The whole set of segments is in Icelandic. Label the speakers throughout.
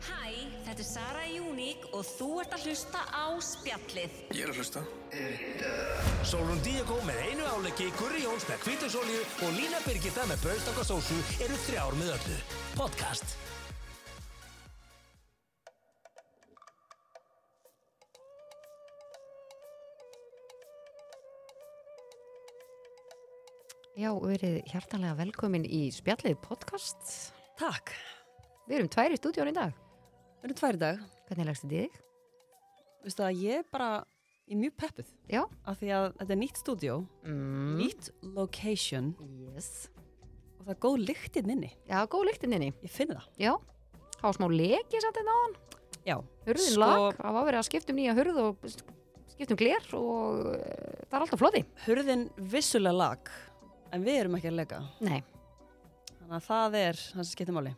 Speaker 1: Þetta er Sara Júník og þú ert að hlusta á spjallið.
Speaker 2: Ég er að hlusta
Speaker 3: Sólrún Díakó með einu áleggi, Gurri Jóns með kvítusólju og Lína Birgitta með braustakasósu eru þrjár með öllu. Podcast.
Speaker 4: Já, verið hjartanlega velkomin í spjallið podcast.
Speaker 5: Takk,
Speaker 4: Við erum tvær í stúdíón í dag.
Speaker 5: við erum tvær í dag.
Speaker 4: Hvernig lagstu þig?
Speaker 5: Vistu að ég er bara í mjög peppuð
Speaker 4: Já.
Speaker 5: af því að þetta er nýtt stúdjó,
Speaker 4: Mm.
Speaker 5: nýtt location
Speaker 4: Yes.
Speaker 5: og það er góð lyktinn inni.
Speaker 4: Já, góð lyktinn inni.
Speaker 5: Ég finn það.
Speaker 4: Já. Það var smá leki samt einn á hann.
Speaker 5: Já.
Speaker 4: Hurðin
Speaker 5: Sko-
Speaker 4: lag. Það var verið að skipta um nýja hurð og skipta um gler og uh, það er alltaf flóði.
Speaker 5: Hurðin vissulega lag, en við erum ekki að leika.
Speaker 4: Nei.
Speaker 5: Þannig að það er það sem skiptir máli.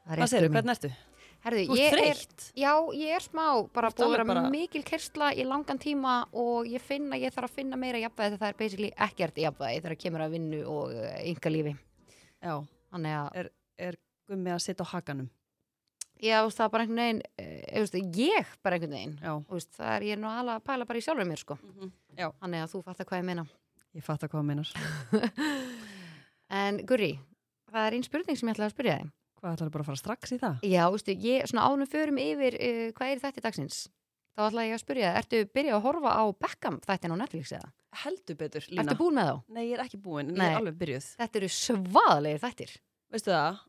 Speaker 4: Það um-
Speaker 5: Hvað segir, hvernig ertu?
Speaker 4: Herðu,
Speaker 5: Þú ert
Speaker 4: ég er,
Speaker 5: þreytt.
Speaker 4: já, ég er smá bara búið að vera
Speaker 5: alveg bara-
Speaker 4: mikil kersla í langan tíma og ég finn að ég þarf að finna meira jafnvæði þegar það er basically ekkert jafnvæði þegar kemur að vinnu og ynga lífi.
Speaker 5: Já,
Speaker 4: Þannig að
Speaker 5: er, er gummi að sitja á hakanum?
Speaker 4: Já, þú veist, það er bara einhvern veginn, eh, þú veist, ég bara einhvern veginn,
Speaker 5: Já, Mhm,
Speaker 4: þú veist, það er ég er nú alveg að pæla bara í sjálfur mér, sko.
Speaker 5: já.
Speaker 4: Þannig að þú fattar hvað ég meina.
Speaker 5: Ég fatt að hvað það meinar.
Speaker 4: En Guri, það er einn spurning sem ég ætlaði að spyrja þig.
Speaker 5: Hvað ætlar bara að fara strax í það?
Speaker 4: Já, þú veist, ég, svona ánum förum yfir uh, hvað er þetta dagsins? Þá ætlaði ég að spyrja þig, ertu byrjað að horfa á Beckham þættin á Netflix eða?
Speaker 5: Heldur betur, Lína.
Speaker 4: Ertu búin með þá?
Speaker 5: Nei, ég er ekki búin, en
Speaker 4: Nei.
Speaker 5: ég er alveg byrjuð.
Speaker 4: Þetta eru svaðalegir þættir.
Speaker 5: Veistu það,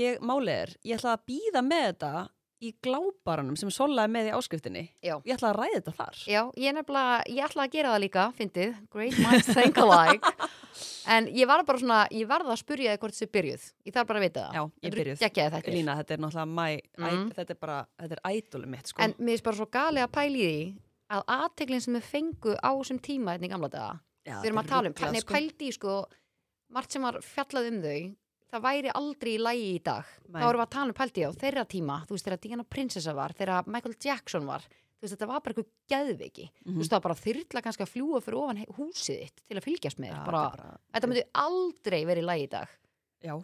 Speaker 5: ég, málið er, ég ætla að býða með þetta í glábaranum sem solaði með í áskriftinni.
Speaker 4: Já.
Speaker 5: Ég ætla að ræða þetta þar.
Speaker 4: Já, ég nefnilega, ég ætla að gera það líka, fyndið, great minds think alike, en ég var bara svona, ég varð að spyrja þig hvort þessi byrjuð, ég þarf bara að vita það.
Speaker 5: Já, ég byrjuð.
Speaker 4: Gekkjaði þetta.
Speaker 5: Lína, þetta er náttúrulega mæ,
Speaker 4: Mm.
Speaker 5: æ, þetta er bara, þetta er ædolum mitt, sko.
Speaker 4: En mér finnst bara svo galið að pæli því að aðteglinn sem við fengu á þessum tíma hérna í gamla daga,
Speaker 5: Já,
Speaker 4: við erum
Speaker 5: þetta
Speaker 4: að tala um,
Speaker 5: er ruglað,
Speaker 4: þannig sko. pældi í sko, margt sem var fjallað um þau, það væri aldrei í lægi í dag.
Speaker 5: Nei.
Speaker 4: Þá erum við að tala um pældi á þeirra tíma, þú veist þegar Diana Princessa var, þegar Michael Jackson var, þú veist þetta var bara eitthvað geðviki. Þú
Speaker 5: Mhm.
Speaker 4: veist það var bara þyrla kannski að fljúa fyrir ofan he- húsið þitt til að fylgjast með þér.
Speaker 5: Já, þetta
Speaker 4: Bara,
Speaker 5: er bara,
Speaker 4: þetta myndi aldrei verið í lægi í dag.
Speaker 5: já,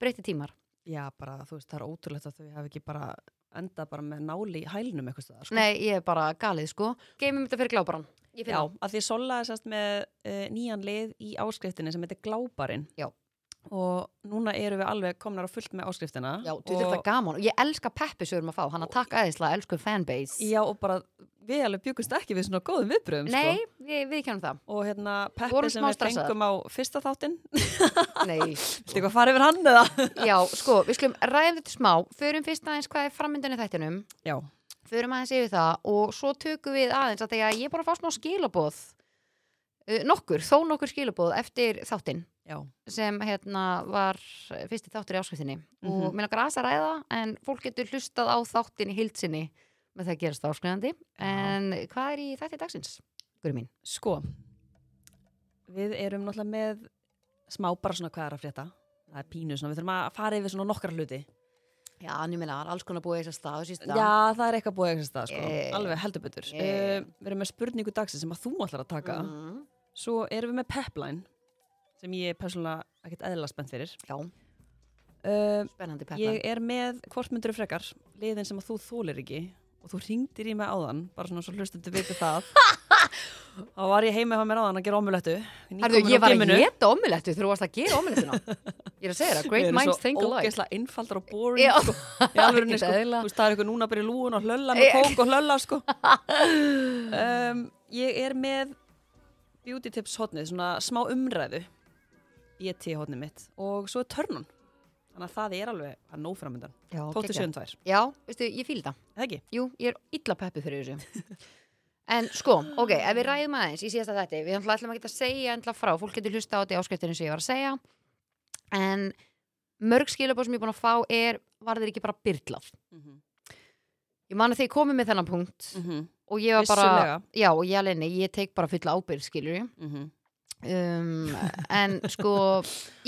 Speaker 4: Breytti tímar.
Speaker 5: já, bara, þú veist, það er ótrúlegt að þau hafi ekki bara endað bara með náli í hælnum eitthvað staðar, sko.
Speaker 4: Nei, ég er bara galið sko. Geimum þetta fyrir glábaran. Ég finn
Speaker 5: Já,
Speaker 4: það.
Speaker 5: að því solaði sérst með uh, nýjan lið í áskriftinni sem heitir glábarinn.
Speaker 4: Já.
Speaker 5: Og núna eru við alveg komnar á fullt með áskriftina.
Speaker 4: Já, þú veist þetta gaman og ég elska Peppi sögurum að fá, hann að takk aðeinslega, elsku fanbase.
Speaker 5: Já, og bara, við alveg byggumst ekki við svona góðum viðbröðum,
Speaker 4: Nei,
Speaker 5: sko.
Speaker 4: við, við kennum það.
Speaker 5: Og hérna,
Speaker 4: Vorum
Speaker 5: Peppi sem
Speaker 4: smá
Speaker 5: við
Speaker 4: stressaðar.
Speaker 5: fengum á fyrsta þáttinn,
Speaker 4: Nei,
Speaker 5: viltu eitthvað fara yfir hann eða?
Speaker 4: já, sko, við skulum ræðum þetta smá, förum fyrst aðeins hvað er framöndunni þættinum,
Speaker 5: Já,
Speaker 4: förum aðeins yfir það og svo tökum við aðeins að þegar ég er bara að fá smá skilabóð, uh, nokkur, þó nokkur skilabóð eftir þáttinn
Speaker 5: já,
Speaker 4: sem hérna var eh, fyrsti þáttur í áskriftinni og
Speaker 5: Mhm.
Speaker 4: mér langar aðeins að ræða en fólk getur hlustað á þáttin í hildsinni með það gerast áskrifandi, en hvað er í þætti dagsins, guri mín?
Speaker 5: sko, við erum náttúrulega með smá bara svona hvað er að frétta. Það er pínu svona, við þurfum að fara yfir svona nokkra hluti.
Speaker 4: Já, en ég meina, það er alls konar búið í þessar stað síðustu dag.
Speaker 5: Já, það er eitthvað búið eitthvað stað, sko,
Speaker 4: Yeah.
Speaker 5: alveg heldur betur.
Speaker 4: Yeah.
Speaker 5: Uh, við erum með spurningu dagsins sem að þú ætlar að taka.
Speaker 4: Eh. Mm.
Speaker 5: Svo erum við með pepline, sem ég er persónulega ekkert eðla spennt fyrir.
Speaker 4: Já,
Speaker 5: Uh,
Speaker 4: spennandi peppa.
Speaker 5: Ég er með hvort myndur frekar liðin sem að þú þólir ekki og þú ringdir í mig áðan bara svona svo hlustundu viti það þá var ég heima hjá mér áðan að gera omulettu
Speaker 4: Herðu, ég var að geta omulettu þegar þú varst að gera omelettuna. Ég er að segja það, great minds think
Speaker 5: Við erum svo
Speaker 4: alike.
Speaker 5: ógeðslega einfaldar og boring
Speaker 4: Já.
Speaker 5: sko. Í alvörunni,
Speaker 4: Ekkert
Speaker 5: sko.
Speaker 4: eðlilega.
Speaker 5: Þú veist, það er eitthvað núna bara í lúun og hlölla
Speaker 4: Ég-
Speaker 5: með kók og hlölla sko. um, Ég er með beauty tips hotnið, svona smá umræðu BT hotnið mitt og svo er törnun Þannig að það er alveg að nóg framöndan
Speaker 4: Já,
Speaker 5: 27.2,
Speaker 4: Já, veistu, ég fýl það.
Speaker 5: um eða ekki?
Speaker 4: Jú, ég er illa peppu fyrir þessu. En sko, ok, ef við ræðum aðeins í síðasta þetta, við náttúrulega ætlum að geta að segja endla frá, fólk getur hlusta á þetta í áskriftinu sem ég var að segja, en mörg skilabóð sem ég er búin að fá er, var þeir ekki bara byrlað?
Speaker 5: Mhm.
Speaker 4: Ég man að þeir komið með þennan punkt
Speaker 5: -hmm.
Speaker 4: og ég var bara,
Speaker 5: Vissulega.
Speaker 4: já, og ég alveg, nei, ég teik bara fulla ábyrð, skilur ég. um, en sko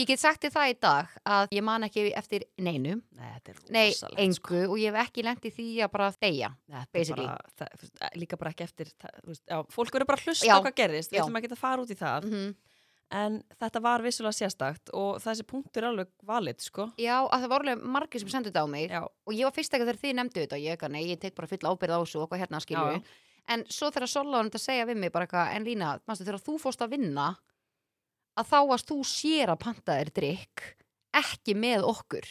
Speaker 4: ég get sagt þér það í dag að ég man ekki eftir neinu
Speaker 5: Nei, þetta er
Speaker 4: nei,
Speaker 5: rosalegt, sko.
Speaker 4: engu og ég hef ekki lent í því að bara deyja
Speaker 5: Þetta er
Speaker 4: basically.
Speaker 5: bara, það, þú eh, veist, líka bara ekki eftir það, þú veist, já, fólk verður bara að hlusta
Speaker 4: Já,
Speaker 5: á hvað gerðist, við
Speaker 4: já.
Speaker 5: ætlum ekki að fara út í það
Speaker 4: mm -hmm.
Speaker 5: en þetta var vissulega sérstakt og þessi punktur er alveg valid sko
Speaker 4: Já, að það var alveg margir sem sendu þetta á mig
Speaker 5: já,
Speaker 4: og ég var fyrst ekki þegar þið nefndu þetta og ég ekki, nei, ég tek bara fulla ábyrð á þessu og hvað hérna skilju
Speaker 5: Já, já.
Speaker 4: en svo þegar Sola var um þetta að segja við mig bara eitthvað, en Lína, manstu, þegar þú fórst að vinna að þá varst þú sér að panta þér drikk ekki með okkur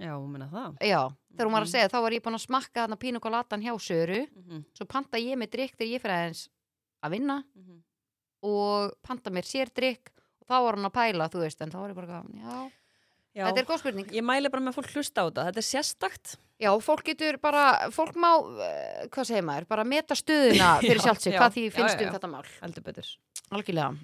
Speaker 5: já, hún meina það
Speaker 4: já, þegar hún var að
Speaker 5: Mhm.
Speaker 4: segja, þá var ég búin að smakka þarna pínu kolatan hjá Söru
Speaker 5: Mhm,
Speaker 4: svo panta ég með drikk þegar ég fyrir aðeins að vinna
Speaker 5: mhm.
Speaker 4: og panta mér sér drikk og þá var hann að pæla, þú veist, en þá var ég bara eitthvað, já,
Speaker 5: já,
Speaker 4: þetta er góð spurning
Speaker 5: ég mæli bara með að fólk hlusta á þetta þetta er sérstakt
Speaker 4: Já, fólk getur bara, fólk má, eh, hvað segir maður, bara meta stöðuna fyrir
Speaker 5: Já,
Speaker 4: sjálft sig,
Speaker 5: já,
Speaker 4: hvað því
Speaker 5: já,
Speaker 4: finnst
Speaker 5: já,
Speaker 4: um
Speaker 5: já.
Speaker 4: þetta mál.
Speaker 5: heldur betur,
Speaker 4: Algjörlega.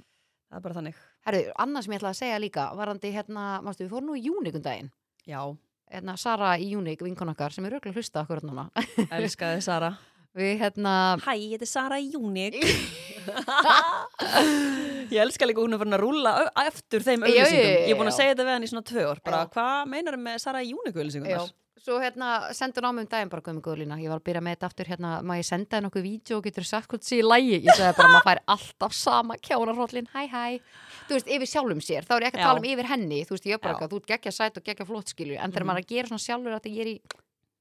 Speaker 5: það er bara þannig
Speaker 4: Herru, annað sem ég ætlaði að segja líka, varandi hérna, mástu, við fórum nú í júnikundaginn,
Speaker 5: já,
Speaker 4: hérna Sara í júnik, vinkon okkar, sem er röglega hlusta okkur hérna núna.
Speaker 5: elskaði Sara
Speaker 4: Við hérna,
Speaker 5: hæ, ég heiti Sara Júnik ég elska líka hún er farin að rúlla ö- eftir þeim
Speaker 4: Já, já, já,
Speaker 5: auðlýsingum ég er búin
Speaker 4: já.
Speaker 5: að segja þetta við hann í svona tvö ár bara,
Speaker 4: Já.
Speaker 5: hvað meinar með Sara Júnik
Speaker 4: já,
Speaker 5: auðlýsingunar?
Speaker 4: svo hérna, sendur námi um daginn bara guðmi góðlína, ég var að byrja með þetta aftur, hérna, má ég senda henn okkur vídeo og getur sagt hvort sé í lægi, ég sagði bara, maður fær alltaf sama kjánarhóllin, hæ hæ. Þú veist, yfir sjálfum sér, þá er ég ekki að
Speaker 5: Já.
Speaker 4: tala um yfir henni, þú veist, ég er bara
Speaker 5: Já.
Speaker 4: eitthvað, þú ert geggja sæt og geggja flott skilju, en þegar
Speaker 5: Mhm.
Speaker 4: maður er að gera svona sjálfur að ég er í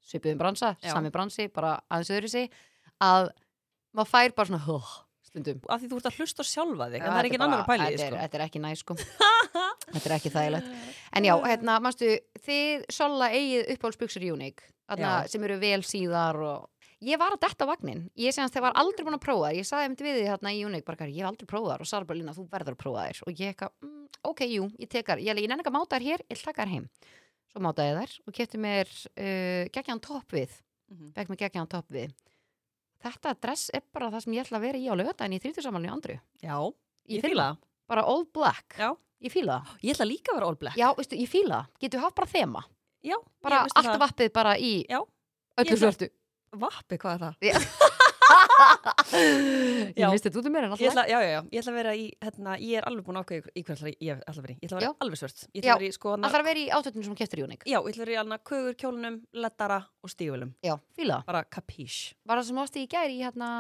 Speaker 4: svipuðum bransa,
Speaker 5: Já.
Speaker 4: sami bransi, bara aðeins öðru sig, að maður fær bara svona, "Ugh," stundum.
Speaker 5: af því þú ert að hlusta á sjálfa þig en
Speaker 4: Já,
Speaker 5: það er
Speaker 4: þetta
Speaker 5: ekki annar
Speaker 4: bara-
Speaker 5: að pæli því
Speaker 4: þetta er-
Speaker 5: sko.
Speaker 4: Þetta er ekki næ sko Þetta er ekki þægilegt En
Speaker 5: Mm.
Speaker 4: já, hérna, manstu, þið sola eigið uppáhaldsbuxur Unique þarna,
Speaker 5: Já.
Speaker 4: sem eru vel síðar og Ég var að detta á vagnin, ég segast þegar var aldrei búin að prófa þær, ég sagði einmitt við því þarna í Unique bara, "Kari, ég hef aldrei prófað þær og sagði bara lína þú verður að prófa þær og ég ekki, mm, ok, jú, ég tekar ég, alveg, ég nenni ekki að máta þær hér, ég ætla að taka þær heim svo mátaði ég þær og kefti mér uh, geggjan topp við
Speaker 5: Mhm.
Speaker 4: fekk mér geggjan topp við þetta dress er bara það sem ég ætla að vera í á lögudaginn í 30 samalinu andru
Speaker 5: já,
Speaker 4: Ég
Speaker 5: ég fíla það
Speaker 4: bara all black
Speaker 5: Já.
Speaker 4: ég fíla það
Speaker 5: ég ætla líka að vera all black
Speaker 4: já, veistu, ég fíla það, getur haft bara þema
Speaker 5: já,
Speaker 4: bara
Speaker 5: ég veistu
Speaker 4: allt
Speaker 5: það.
Speaker 4: vappið bara í
Speaker 5: Já.
Speaker 4: öllu
Speaker 5: Ég ætla-
Speaker 4: svörtu
Speaker 5: vappi, hvað er það?
Speaker 4: ég
Speaker 5: Já.
Speaker 4: misti þetta út um mér en
Speaker 5: Ég
Speaker 4: alltaf
Speaker 5: ætla, já, já, já, ég ætla að vera í, hérna, ég er alveg búin að ákveða í hvað ætla- ég ætla að vera í. Ég ætla að vera
Speaker 4: Já.
Speaker 5: alveg svört.
Speaker 4: Já.
Speaker 5: Ég ætla að vera í sko, hana,
Speaker 4: alltaf að vera í átöndinu sem keftur í unik
Speaker 5: já, ég ætla að vera í hana kögur, kjólunum, lettara og stígvölum.
Speaker 4: já, fíla það
Speaker 5: Bara kapísh.
Speaker 4: var það sem ástu í gæri í hérna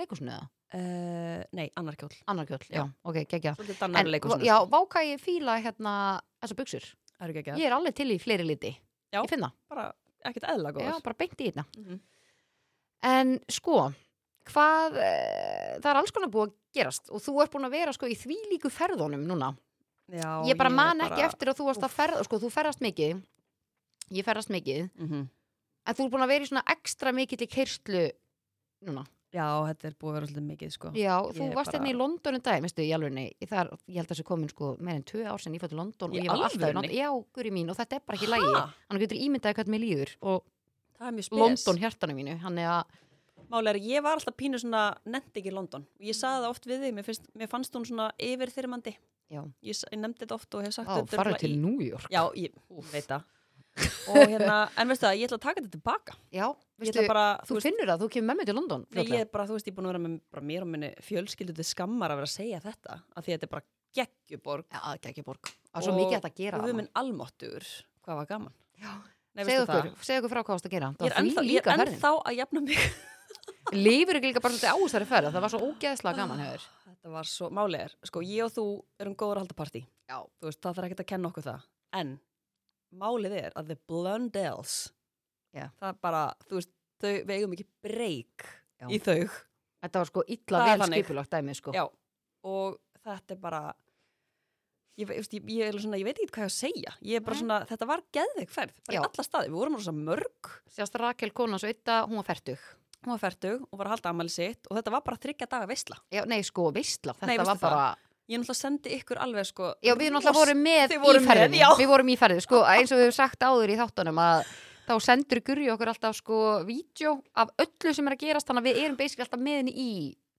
Speaker 4: leikursinu eða
Speaker 5: Uh, nei, annar kjól.
Speaker 4: Eh, annar kjöld, já, ok, geggja
Speaker 5: Svolítið dannar leikursunum.
Speaker 4: já, váka ég fíla hérna þessar buksur,
Speaker 5: Það eru ekki
Speaker 4: ég er alveg til í fleiri liti
Speaker 5: Já.
Speaker 4: ég finna,
Speaker 5: Bara ekkert eðla góð.
Speaker 4: já, bara beint í þetta
Speaker 5: Mhm.
Speaker 4: En sko, hvað, uh, það er alls konar búið að gerast og þú ert búin að vera sko í þvílíku ferðunum núna.
Speaker 5: já,
Speaker 4: ég bara
Speaker 5: er
Speaker 4: man
Speaker 5: bara-
Speaker 4: ekki eftir að þú varst að ferða, sko þú ferðast mikið, ég ferðast mikið,
Speaker 5: Mhm.
Speaker 4: en þú ert búin að vera í svona ekstra mikið til keirslu núna.
Speaker 5: Já, þetta er búið að vera svolítið mikið, sko.
Speaker 4: Já, þú
Speaker 5: ég
Speaker 4: varst
Speaker 5: bara-
Speaker 4: hérna í London um dag, veistu, í alvegni, þar, ég held að þessi komin sko meir en tvö ár sinni, ég fór til London
Speaker 5: Í
Speaker 4: og ég var alltaf, í
Speaker 5: alvörunni?
Speaker 4: London. já, guri mín, og þetta er bara ekki lægi,
Speaker 5: Ha?
Speaker 4: hann getur ímyndaði hvernig mér líður og
Speaker 5: Það er mjög spes.
Speaker 4: London hjartanum mínu, hann er að,
Speaker 5: Máli er, að ég var alltaf pínu svona, nefndi ekki London. Ég saði það oft við þig, mér, finnst, mér fannst hún svona yfirþyrmandi.
Speaker 4: já,
Speaker 5: Ég, s- ég nefndi þetta oft og hef sagt
Speaker 4: á,
Speaker 5: þetta
Speaker 4: farið
Speaker 5: örugglega
Speaker 4: til
Speaker 5: í-
Speaker 4: New York.
Speaker 5: Já, ég veit það. Og hérna, en veistu það, ég ætla að taka þetta tilbaka.
Speaker 4: Já,
Speaker 5: Ég ætla bara,
Speaker 4: Þú
Speaker 5: þú veist,
Speaker 4: finnur það, þú kemur með mig til London
Speaker 5: nei, ég
Speaker 4: fljótlega.
Speaker 5: er bara, þú veist, ég er búin að vera með bara mér og minni fjölskyldu til skammar að vera að segja þetta. Af því að þetta er bara geggjuborg
Speaker 4: Já, ekki ekki borg Það er svo
Speaker 5: Og-
Speaker 4: mikið hægt að gera
Speaker 5: og við
Speaker 4: það
Speaker 5: minn almottur. Hvað var gaman?
Speaker 4: Já.
Speaker 5: Nei,
Speaker 4: Segðu
Speaker 5: veistu
Speaker 4: okkur,
Speaker 5: það?
Speaker 4: segðu okkur frá hvað ást að gera
Speaker 5: Ég er ennþá, ég er ennþá að jafna mig.
Speaker 4: Lífur ekki líka bara svolítið á þessari ferð Það var svo
Speaker 5: Ah.
Speaker 4: ógeðslega gaman hefur
Speaker 5: Þetta var svo, málið er, sko, ég og þú erum góður að halda partí.
Speaker 4: Já.
Speaker 5: Þú veist, það þarf ekkert að kenna okkur það. En, málið er að the Blundells,
Speaker 4: Já.
Speaker 5: það er bara, þú veist, þau, við eigum ekki breyk
Speaker 4: Já.
Speaker 5: í þau.
Speaker 4: Þetta var sko illa
Speaker 5: Það er
Speaker 4: vel
Speaker 5: þannig.
Speaker 4: skipulagt dæmi sko
Speaker 5: Já, og þetta er bara, ég, ve- ég, veist, ég, ég, er svona, ég veit ekki hvað ég á að segja. Ég er bara
Speaker 4: Nei.
Speaker 5: svona, þetta var geðveik ferð, bara
Speaker 4: Já.
Speaker 5: í alla staði. Við vorum rosa mörg,
Speaker 4: Sjást Rakel Kona svo ytta, hún var fertug
Speaker 5: hún var færtug og var að halda ammæli sitt og þetta var bara þryggja daga veistla.
Speaker 4: Já, nei sko, veistla, þetta
Speaker 5: Nei, veistu
Speaker 4: var bara
Speaker 5: Ég náttúrulega sendi ykkur alveg sko
Speaker 4: Já, við náttúrulega vorum með
Speaker 5: Þið
Speaker 4: í
Speaker 5: voru með,
Speaker 4: ferðinni
Speaker 5: já.
Speaker 4: Við vorum í ferði, sko, eins og við hefum sagt áður í þáttunum að þá sendur Gurri okkur alltaf sko vídeo af öllu sem er að gerast þannig að við erum basically alltaf meðin í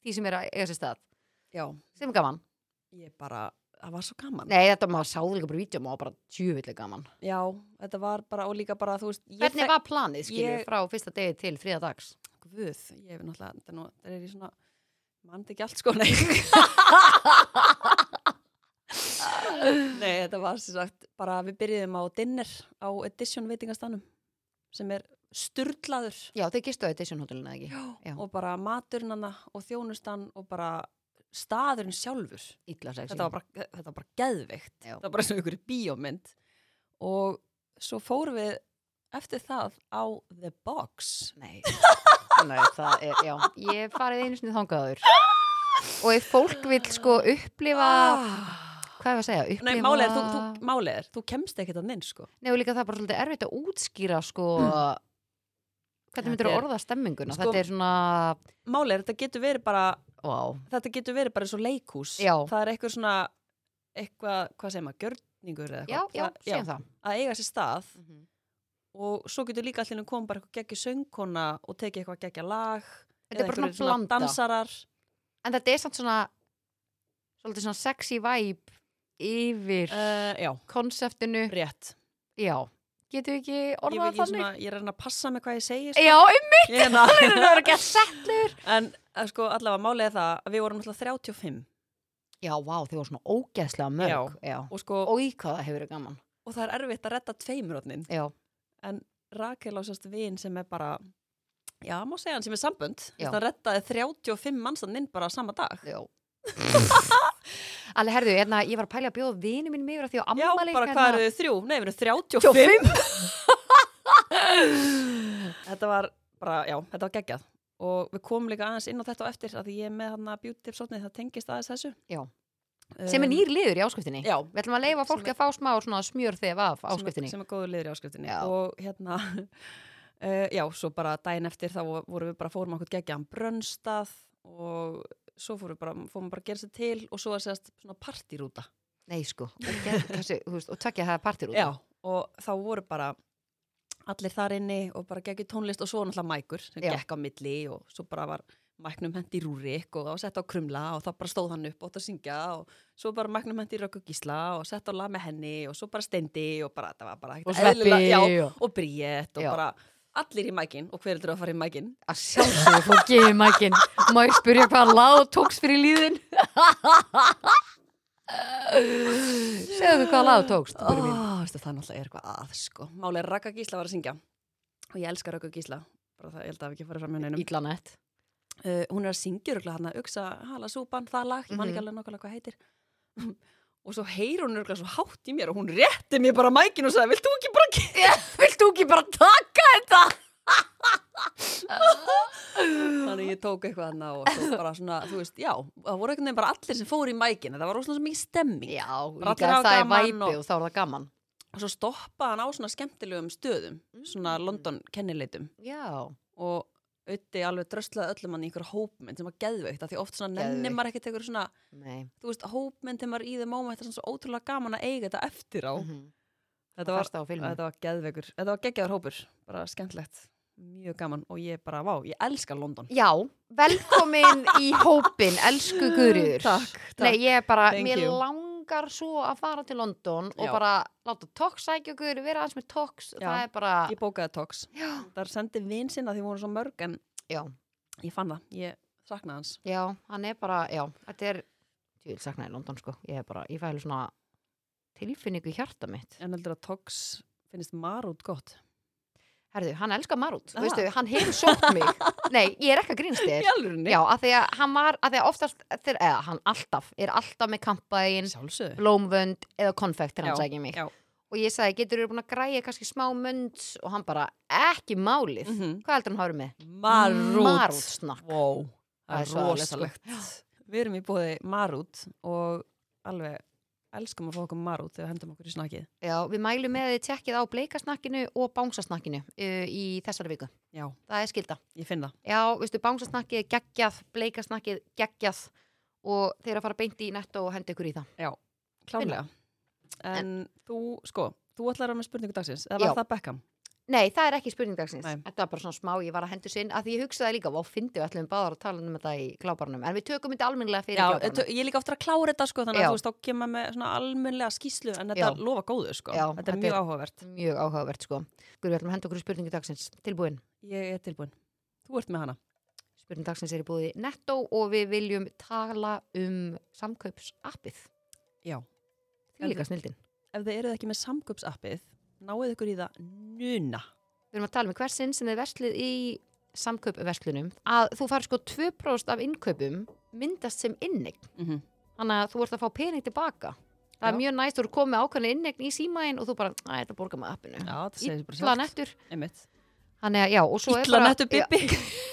Speaker 4: því sem er að eiga sér stað
Speaker 5: Já,
Speaker 4: sem er gaman
Speaker 5: ég bara, það var svo gaman.
Speaker 4: Nei, þetta maður sáði líka bara vídeo, maður var bara tjúvillig gaman.
Speaker 5: Já, þetta var bara, og líka bara, þú veist, ég
Speaker 4: Hvernig
Speaker 5: fekk-
Speaker 4: var planið, skilju,
Speaker 5: ég-
Speaker 4: frá fyrsta degi til þriða dags?
Speaker 5: Guð, ég hef náttúrulega, þetta er nú- þetta er í svona, mann ekki allt sko, nei. nei, þetta var sem sagt, bara við byrjuðum á dinner á Edition veitingastanum, sem er sturlaður
Speaker 4: Já, þau gistu á Edition hotellinu, eða ekki? Já.
Speaker 5: og bara maturinn hana og þjónustan og bara staðurinn sjálfur
Speaker 4: illa sexy
Speaker 5: þetta var bara, eh, þetta var bara geðveikt
Speaker 4: Já.
Speaker 5: þetta var bara eins og einhverju bíómynd og svo fórum við eftir það á The Box
Speaker 4: Nei, nei, það er, já, ég hef farið einu sinni þangaður og ef fólk vill sko upplifa,
Speaker 5: ah.
Speaker 4: hvað er að segja, upplifa
Speaker 5: Nei, málið er, þú, þú, málið er, þú kemst ekkert að ninn sko
Speaker 4: Nei, og líka það er bara svolítið erfitt að útskýra sko
Speaker 5: Þetta
Speaker 4: hvernig myndir að
Speaker 5: er-
Speaker 4: orða stemminguna,
Speaker 5: sko-
Speaker 4: þetta er svona,
Speaker 5: Málið er, þetta getur verið bara
Speaker 4: vá,
Speaker 5: þetta getur verið bara eins og leikhús
Speaker 4: Já.
Speaker 5: það er eitthvað svona eitthvað, hvað segir maður, gjörningur eða
Speaker 4: já,
Speaker 5: eitthvað
Speaker 4: já,
Speaker 5: Það-
Speaker 4: segjum það.
Speaker 5: að eiga sér stað
Speaker 4: Mhm.
Speaker 5: og svo getur líka allir komið bara eitthvað geggja söngkona og tekið eitthvað geggja lag
Speaker 4: Þetta er
Speaker 5: eða
Speaker 4: bara svona
Speaker 5: einhverjir
Speaker 4: blanda,
Speaker 5: dansarar
Speaker 4: en þetta er samt svona, svolítið svona sexy vibe yfir
Speaker 5: uh, já,
Speaker 4: konseptinu,
Speaker 5: rétt
Speaker 4: já, getur við ekki
Speaker 5: ég,
Speaker 4: orðað
Speaker 5: ég,
Speaker 4: það þannig?
Speaker 5: svona, ég er að reyna að passa með hvað ég segi sko.
Speaker 4: Já, um,
Speaker 5: ég er að
Speaker 4: það er ekki að settlur.
Speaker 5: en eh, sko, allavega málið er það að við vorum alltaf 35
Speaker 4: Já, vá, þau voru svona ógeðslega mörg, já.
Speaker 5: og, sko, og,
Speaker 4: og í hvað það hefur verið gaman
Speaker 5: það er erfitt að redda tveimur hodnin
Speaker 4: já,
Speaker 5: en Rakel á sérst vin sem er bara já, má segja hann sem er sambund
Speaker 4: Já.
Speaker 5: það reddaði 35 mannstanninn bara sama dag
Speaker 4: já alveg herðu, hérna, ég var að pæla að bjóða vini mín mig yfir að því á hérna,
Speaker 5: Já,
Speaker 4: ammali
Speaker 5: bara hvað eru þið þrjú? Nei, við erum 35
Speaker 4: 25
Speaker 5: Þetta var bara, já, þetta var geggjað og við komum líka aðeins inn á þetta og eftir að því ég er með hann að beauty tips hotnið, það tengist aðeins þessu
Speaker 4: Já.
Speaker 5: Um,
Speaker 4: sem er nýr liður í áskriftinni
Speaker 5: Já,
Speaker 4: við ætlum að leifa fólki að
Speaker 5: Sem
Speaker 4: fá smá svona smjör þegar af
Speaker 5: sem er-
Speaker 4: áskriftinni
Speaker 5: sem er góður liður í áskriftinni
Speaker 4: Já.
Speaker 5: og hérna uh, já, svo bara daginn eftir þá vo- vorum við bara fórum okkur geggjaðan brönnstað og svo fórum við bara, fórum bara að gera sér til og svo að segja svona partírúta
Speaker 4: nei sko, og gerð- þessi, þú veist, og takja það partir út
Speaker 5: Já, og þá voru bara allir þar inni og bara geggi tónlist og svo náttúrulega mækur sem
Speaker 4: Já.
Speaker 5: gekk á milli og svo bara var mæknum hendi í rúrik og það var sett á krumla og þá bara stóð hann upp og átt að syngja og svo bara mæknum hendi í rökk og gísla og sett á lag með henni og svo bara steindi og bara það var bara
Speaker 4: og
Speaker 5: ekkert
Speaker 4: sveppi
Speaker 5: eðlilega- já,
Speaker 4: og-
Speaker 5: og bríett og
Speaker 4: Já.
Speaker 5: bara allir í mækin og hver er að fara í mækin
Speaker 4: að sjálfsögðu fólki í mækin má ég spyrja hvað lág tóks fyrir líðin segðu mig hvað lág tókst
Speaker 5: Ó,
Speaker 4: oh. mín.
Speaker 5: veistu, það náttúrulega er eitthvað að sko Málega Raka Gísla var að syngja og ég elska Raka Gísla bara það, ég held að það hafi ekki farið fram hjá neinum
Speaker 4: Íllanett
Speaker 5: uh, hún er að syngja örgulega hann að uksa hala súpan, það lag, ég man ekki
Speaker 4: Mhm.
Speaker 5: alveg nákvæmlega hvað heitir og svo heyr hún örgulega svo hátt í mér og hún rétti mér bara mækin og sagði, vilt þú ekki bara gera
Speaker 4: Vilt þú ekki bara taka þetta?
Speaker 5: þannig ég tók eitthvað hann og svo bara svona, þú veist, já, það voru einhvern veginn bara allir sem fóru í mækin, það var rosalega mikið stemming
Speaker 4: Já,
Speaker 5: Bara
Speaker 4: líka ef
Speaker 5: allir hafa
Speaker 4: það er
Speaker 5: gaman
Speaker 4: væpi
Speaker 5: og-
Speaker 4: og þá er það gaman
Speaker 5: og svo stoppaði hann á svona skemmtilegum stöðum
Speaker 4: Mhm.
Speaker 5: svona London kennileitum
Speaker 4: Já,
Speaker 5: og auði alveg dröslaði öllum hann í einhverja hópmynd sem var geðveikt, af því oft svona nenni
Speaker 4: Geðveikt.
Speaker 5: maður ekkert einhverju svona,
Speaker 4: nei
Speaker 5: þú veist, hópmynd þegar maður í þeim móma, þetta er svona svo ótrúlega gaman að eiga þetta eftir á
Speaker 4: Mhm.
Speaker 5: þetta var
Speaker 4: Fasta á filmu
Speaker 5: Þetta var geðveikur, þetta var geggjaður hópur, bara skemmtlegt, mjög gaman og ég bara, vá, ég elska London.
Speaker 4: Já, velkomin í hópin, elsku guðriður
Speaker 5: Takk, takk.
Speaker 4: Nei, ég bara,
Speaker 5: Thank
Speaker 4: mér
Speaker 5: you.
Speaker 4: langar svo að fara til London og
Speaker 5: Já.
Speaker 4: bara láta toks sækja okkur, vera aðeins með toks
Speaker 5: Já.
Speaker 4: Það er bara,
Speaker 5: Ég bókaði Tox,
Speaker 4: já,
Speaker 5: þar sendi vin sinna því voru svo mörg en
Speaker 4: já,
Speaker 5: ég fann það, ég saknaði hans.
Speaker 4: já, hann er bara, já, þetta er Ég vil sakna í London, sko, ég er bara, ég fælu svona tilfinningu í hjarta mitt
Speaker 5: En heldur að Tox finnist marút gott.
Speaker 4: Herðu, hann elskar Marút,
Speaker 5: Aha.
Speaker 4: veistu, hann hefur sótt mig Nei, ég er ekki að grínst þér
Speaker 5: alveg,
Speaker 4: Já, af því að hann var, af því að oftast þeir, eða hann alltaf, er alltaf með kampaðin
Speaker 5: Sjálfsögðu.
Speaker 4: blómvönd eða konfekt þegar hann
Speaker 5: Já,
Speaker 4: sækir mig
Speaker 5: já.
Speaker 4: og ég sagði, getur þú búin að græja kannski smá mönd og hann bara, ekki málið
Speaker 5: Mhm.
Speaker 4: hvað heldur hann hafa verið með?
Speaker 5: Marút.
Speaker 4: Marútsnakk.
Speaker 5: Vó,
Speaker 4: Það
Speaker 5: það
Speaker 4: er
Speaker 5: er
Speaker 4: svo alveg, sko.
Speaker 5: rosalegt. Við erum í bóði marút og alveg elskum að fá okkur marút þegar við hendum okkur í snakið.
Speaker 4: Já, við mælum með að þið tjekkið á bleikasnakkinu og bángsasnakkinu uh, í þessari viku
Speaker 5: Já,
Speaker 4: það er skilda
Speaker 5: ég finn það.
Speaker 4: Já, veistu, bángsasnakkið er geggjað, bleikasnakkið geggjað og þeir eru að fara beint í netto og hendi ykkur í það
Speaker 5: Klánlega. En, þú, sko, þú ætlar að vera með spurningu dagsins, eða var
Speaker 4: Já.
Speaker 5: það Beckham?
Speaker 4: Nei, það er ekki spurningdagsins.
Speaker 5: Nei.
Speaker 4: Þetta var bara svona smá, ég var að hendur sinn, að því ég hugsaði líka, vá, fyndi við ætlum báðar að tala um þetta í klábarnum, en við tökum þetta almennilega fyrir
Speaker 5: ég
Speaker 4: klábarnum.
Speaker 5: tö- ég er líka ofta að klára þetta, sko, þannig
Speaker 4: Já.
Speaker 5: að þú veist, þá kemur maður með svona almennlega skýslu, en þetta
Speaker 4: Já.
Speaker 5: lofa góðu, sko.
Speaker 4: Já,
Speaker 5: þetta er
Speaker 4: þetta
Speaker 5: mjög
Speaker 4: er-
Speaker 5: áhugavert.
Speaker 4: Mjög áhugavert, sko. Guður, við ætlum að henda okkur í spurningu dagsins. Tilbúin.
Speaker 5: Ég er tilbúin. Þú ert með hana.
Speaker 4: Spurningu dagsins er í búði Netto og við viljum tala um samkaupsappið.
Speaker 5: Já.
Speaker 4: Því líka snildin.
Speaker 5: Ef þið eruð ekki með samkupsappið, náið ykkur í það núna.
Speaker 4: Við erum að tala um hversinn sem þið verslið í samkaupverslunum, að þú fari sko 2% af innkaupum myndast sem innegn
Speaker 5: Mhm.
Speaker 4: þannig að þú ert að fá pening tilbaka það er
Speaker 5: Já.
Speaker 4: mjög næst, þú eru komið ákveðin innegn í símaðin og þú bara, að þetta borga með appinu
Speaker 5: Já, það segir bara
Speaker 4: illa
Speaker 5: sjálft.
Speaker 4: nettur
Speaker 5: Einmitt.
Speaker 4: þannig að já, og svo er
Speaker 5: Illa
Speaker 4: bara
Speaker 5: nettur Bibbi.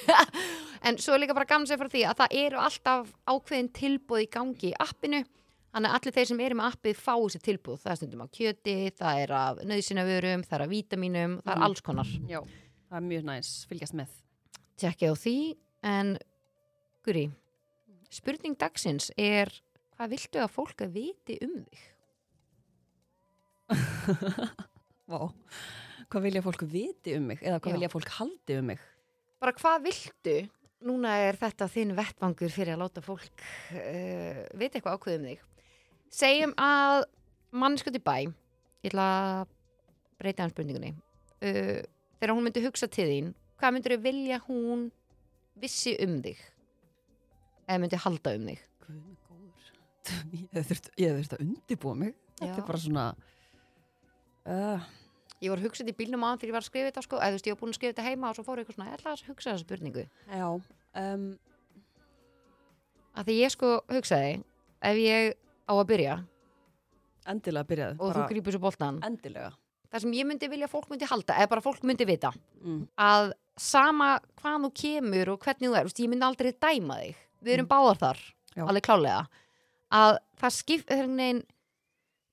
Speaker 4: Já, en svo er líka bara gaman sér frá því að það eru alltaf ákveðin tilbúð í gangi í appinu þannig að allir þeir sem eru með appið fá þessi tilbúð það er stundum á kjöti, það er af nöðsynavörum það er af vítaminum, það
Speaker 5: Mhm.
Speaker 4: er alls konar
Speaker 5: Já, það er mjög næs, fylgjast með.
Speaker 4: tjekkið á því en Guri, spurning dagsins er hvað viltu að fólk að viti um þig?
Speaker 5: Vá. Hvað vilja fólk viti um mig? Eða hvað
Speaker 4: Já.
Speaker 5: vilja fólk haldi um mig?
Speaker 4: Bara hvað viltu? Núna er þetta þinn vettvangur fyrir að láta fólk uh, vita eitthvað ákveð um þig. Segjum að mannskjöld í bæ, ég ætla að breyta hann spurningunni, uh, þegar hún myndi hugsa til þín, hvað myndur þau vilja hún vissi um þig? Eða myndi halda um þig?
Speaker 5: Guð minn góður. Ég hef þurft, ég hef þurft að undibúa mig. Þetta
Speaker 4: Já.
Speaker 5: er bara svona... Uh,
Speaker 4: Ég var hugsað í bílnum aðan þegar ég var að skrifa þetta sko, eða þú veist, ég var búin að skrifa þetta heima og svo fór ég eitthvað svona, ég ætla að hugsa þessa spurningu.
Speaker 5: já. Um,
Speaker 4: Af því ég sko hugsaði, ef ég á að byrja
Speaker 5: endilega byrjaði.
Speaker 4: og þú grýpur svo boltan,
Speaker 5: Endilega.
Speaker 4: það sem ég myndi vilja að fólk myndi halda, eða bara fólk myndi vita,
Speaker 5: Mm.
Speaker 4: að sama hvaðan þú kemur og hvernig þú er, þú veist, ég myndi aldrei dæma þig. Við erum báðar þar,
Speaker 5: Mm. Já.
Speaker 4: alveg klálega. Að það skipt, hvernig,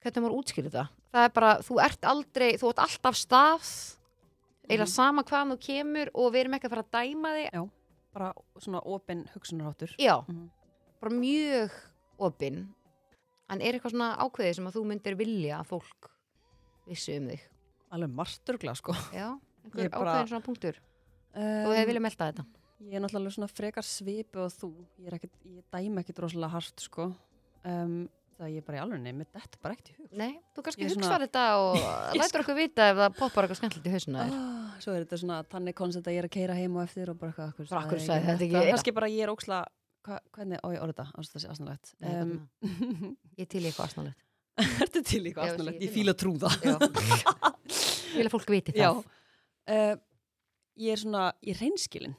Speaker 4: hvernig maður útskýrði það? Það er bara, þú ert aldrei, þú ert alltaf stað,
Speaker 5: Mhm.
Speaker 4: eða sama hvaðan þú kemur og við erum ekki að fara að dæma þig
Speaker 5: Bara svona opin hugsunarháttur.
Speaker 4: Já,
Speaker 5: Mhm.
Speaker 4: bara mjög opinn. En er eitthvað svona ákveðið sem að þú myndir vilja að fólk vissi um þig?
Speaker 5: Alveg margturgla, sko.
Speaker 4: Já, einhver
Speaker 5: Ég bara-
Speaker 4: ákveðin svona punktur.
Speaker 5: Um,
Speaker 4: Þú hefur viljað melta þetta.
Speaker 5: Ég er náttúrulega alveg svona frekar svipu og þú. Ég, er ekkit, ég dæmi ekkit rosalega hart, sko. Um, það ég er bara í alveg nefnir, þetta er bara ekkert í hug.
Speaker 4: Nei, þú kannski
Speaker 5: Ég er
Speaker 4: hugsaðar
Speaker 5: svona- sko-
Speaker 4: þetta og lætur okkur vita ef það poppar eitthvað skemmtilegt í hausinu þér.
Speaker 5: Ah, svo er þetta svona þannig koncept að ég er að keira heim og eftir og bara eitthvað,
Speaker 4: Bara, af hverju sagði þetta ekki? Já.
Speaker 5: Kanski bara ég er óksla, hva, hvernig, ó ég orða þetta, ástæði þessi asnalegt.
Speaker 4: Nei,
Speaker 5: Um,
Speaker 4: um, ég til í eitthvað asnalegt.
Speaker 5: Ertu til
Speaker 4: Já,
Speaker 5: eitthvað asnalegt?
Speaker 4: ég
Speaker 5: Ég
Speaker 4: fíla
Speaker 5: fíla trúða.
Speaker 4: Já. Vilja fólk viti
Speaker 5: Já.
Speaker 4: það.
Speaker 5: Uh, ég er svona, ég er reynskilin.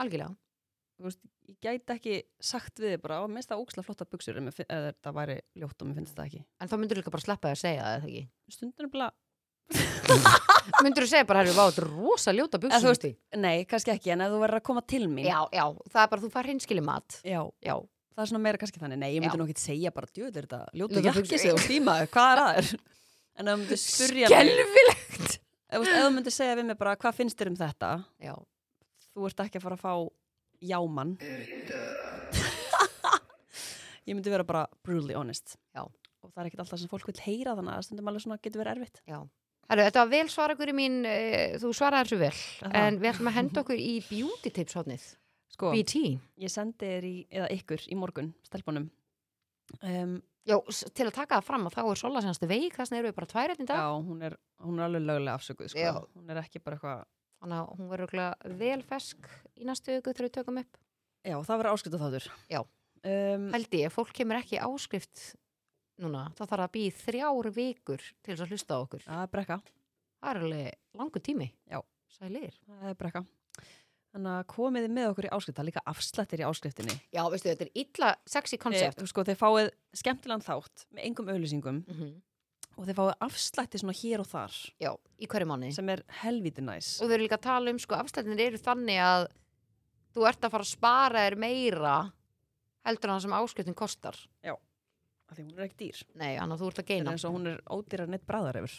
Speaker 4: Algjörlega.
Speaker 5: Þú veist, ég gæti ekki sagt við þið bara, og minnst það óksla flotta buksur ef mér fin- ef þetta væri ljótt og mér finnst það ekki.
Speaker 4: En þá myndur þú líka bara sleppa því að segja það, eða ekki?
Speaker 5: Stundin er bara,
Speaker 4: Myndur þú segja bara, herru, vá, þetta er rosa ljóta
Speaker 5: Eða þú
Speaker 4: buksum
Speaker 5: veist- nei, kannski ekki, en ef þú verður að koma til mín.
Speaker 4: Já, já, það er bara, þú far hinskili mat.
Speaker 5: Já,
Speaker 4: Já,
Speaker 5: það er svona meira kannski þannig, nei, ég
Speaker 4: Já.
Speaker 5: myndi nú ekki segja bara, djöð, er þetta ljóta
Speaker 4: Ljótar
Speaker 5: jakki
Speaker 4: buxur,
Speaker 5: sig
Speaker 4: já.
Speaker 5: og stímaður, hvað er að þér? En ef þú myndir spyrja mig,
Speaker 4: skelfilegt!
Speaker 5: ef þú veist, ef þú myndir segja við mig bara, hvað finnst þér um þetta?
Speaker 4: Já,
Speaker 5: Þú ert ekki að fara að fá jámann. ég myndi vera bara brutally honest.
Speaker 4: Já.
Speaker 5: Og það er ekkit alltaf sem fólk vil heyra þannig að stundum alveg svona getur verið erfitt.
Speaker 4: Já. Herru, þetta var vel svara ykkur í mín, uh, þú svaraði þessu vel,
Speaker 5: Aha.
Speaker 4: en við ætlum að henda okkur í beauty tips hodnið,
Speaker 5: Sko,
Speaker 4: BT.
Speaker 5: ég sendi þér í, eða ykkur í morgun, stelpunum. Um,
Speaker 4: Já, s- til að taka það fram að þá er Sola senast veik, þess vegna eru við bara tvær hérna í dag,
Speaker 5: já, hún er, hún er alveg lögulega afsökuð, sko.
Speaker 4: Já.
Speaker 5: Hún er ekki bara eitthvað
Speaker 4: þannig að hún verður örugglega vel fesk í næstu viku þegar við tökum upp.
Speaker 5: Já, það verður áskipta þáttur.
Speaker 4: Já.
Speaker 5: Um,
Speaker 4: Hældi ég, fólk kemur ekki í áskrift núna, það þarf að býja þrjár vikur til þess að hlusta á okkur.
Speaker 5: það er brekka.
Speaker 4: Það er alveg langur tími.
Speaker 5: Já.
Speaker 4: Sælir.
Speaker 5: Það er brekka. Þannig að komiði með okkur í áskrift, það er líka afslættir í áskriftinni.
Speaker 4: Já, veistu, þetta er illa sexy koncept.
Speaker 5: Eh, sko, þeir fáið skemmtilegan þátt með engum auðlýsingum
Speaker 4: Mm
Speaker 5: og þeir fáið afslætti svona hér og þar
Speaker 4: Já, í hverju manni?
Speaker 5: sem er helvítið næs.
Speaker 4: og þau eru líka að tala um sko afslættinir eru þannig að þú ert að fara að spara þér meira heldur en það sem áskriftin kostar
Speaker 5: Af Því hún er ekki dýr.
Speaker 4: nei, annað þú ert að
Speaker 5: Það er
Speaker 4: geina
Speaker 5: eins og hún er ódýrar neitt bræðar yfir.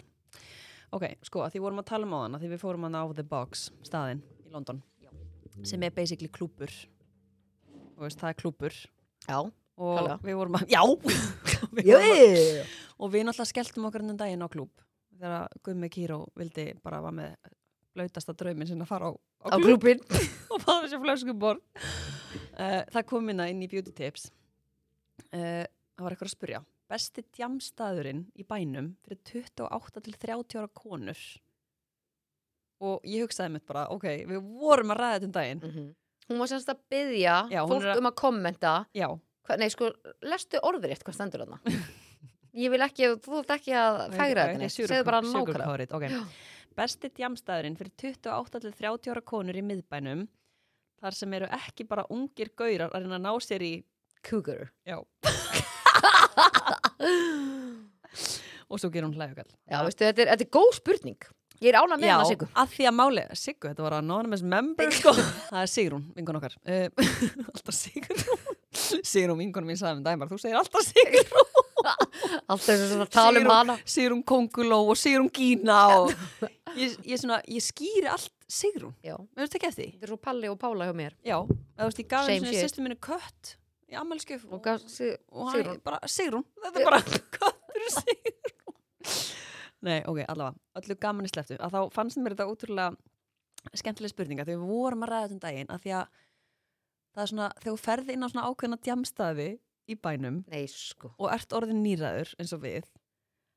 Speaker 5: Ok, sko, að því vorum að tala um á hana, því við fórum hana á The Box, staðinn í London, sem er basically klúpur. Þú veist, það er klúpur.
Speaker 4: já,
Speaker 5: Og
Speaker 4: Klálega.
Speaker 5: við vorum að, já! Við vorum að-
Speaker 4: Jöi!
Speaker 5: Og við náttúrulega skelltum okkur ennum daginn á klúb þegar að Gummi Kíró vildi bara var með blautasta drauminn sinna að fara á, á,
Speaker 4: á
Speaker 5: klúbb
Speaker 4: klúpin
Speaker 5: og fá þessi flöskuborð. Uh, það kom minna inn í Beauty Tips. Uh, það var eitthvað að spurja. Besti djamstaðurinn í bænum fyrir 28 til 30 ára konur. Og ég hugsaði mitt bara, ok, við vorum að ræða þetta um
Speaker 4: Mm.
Speaker 5: daginn.
Speaker 4: Mhm. hún var semst að byggja
Speaker 5: Já, hún
Speaker 4: fólk
Speaker 5: er að-
Speaker 4: um að kommenta
Speaker 5: Já,
Speaker 4: Hva- nei sko, lestu orður eitt hvað stendur þarna ég vil ekki, þú ert ekki að fægra þetta neitt, segðu bara nákvæmlega
Speaker 5: nákvæmlega okay. besti djamstaðurinn fyrir 28 til 30 ára konur í miðbænum þar sem eru ekki bara ungir gaurar að reyna að ná sér í
Speaker 4: Cougar
Speaker 5: já og svo gerir hún hlægjokall
Speaker 4: Já, veistu, þetta er, þetta er góð spurning Ég er ánað með
Speaker 5: Já,
Speaker 4: hana Sigur
Speaker 5: að því að máli Siggu, þetta var anonymous member sko. það er Sigrún, vingun okkar Eh, alltaf Sigrún Sigrún, vingun mín sagði um dæmar, þú segir alltaf Sigrún
Speaker 4: Alltaf þess að tala um
Speaker 5: Sigrún-
Speaker 4: hana
Speaker 5: Sigrún Konguló og Sigrún Gína og ég, ég, svona, ég skýri allt Sigrún,
Speaker 4: Já,
Speaker 5: mér veist ekki eftir því
Speaker 4: þetta er svo Palli og Pála hjá mér
Speaker 5: já, eða þú veist, ég gaf
Speaker 4: Same
Speaker 5: einu
Speaker 4: shit.
Speaker 5: sýstu minni kött í ammælskjöf
Speaker 4: Og gaf sig
Speaker 5: og hann
Speaker 4: Sigrún
Speaker 5: bara, Sigrún, þetta er bara köttur Sigrún Nei, ok, allavega, öllu gaman í sleftu að þá fannst mér þetta útrúlega skemmtilega spurninga þegar við vorum að ræða þetta um daginn að því að það er svona, þegar þú ferði inn á svona ákveðna djamstaði í bænum
Speaker 4: Nei, sko
Speaker 5: og ert orðin nýræður eins og við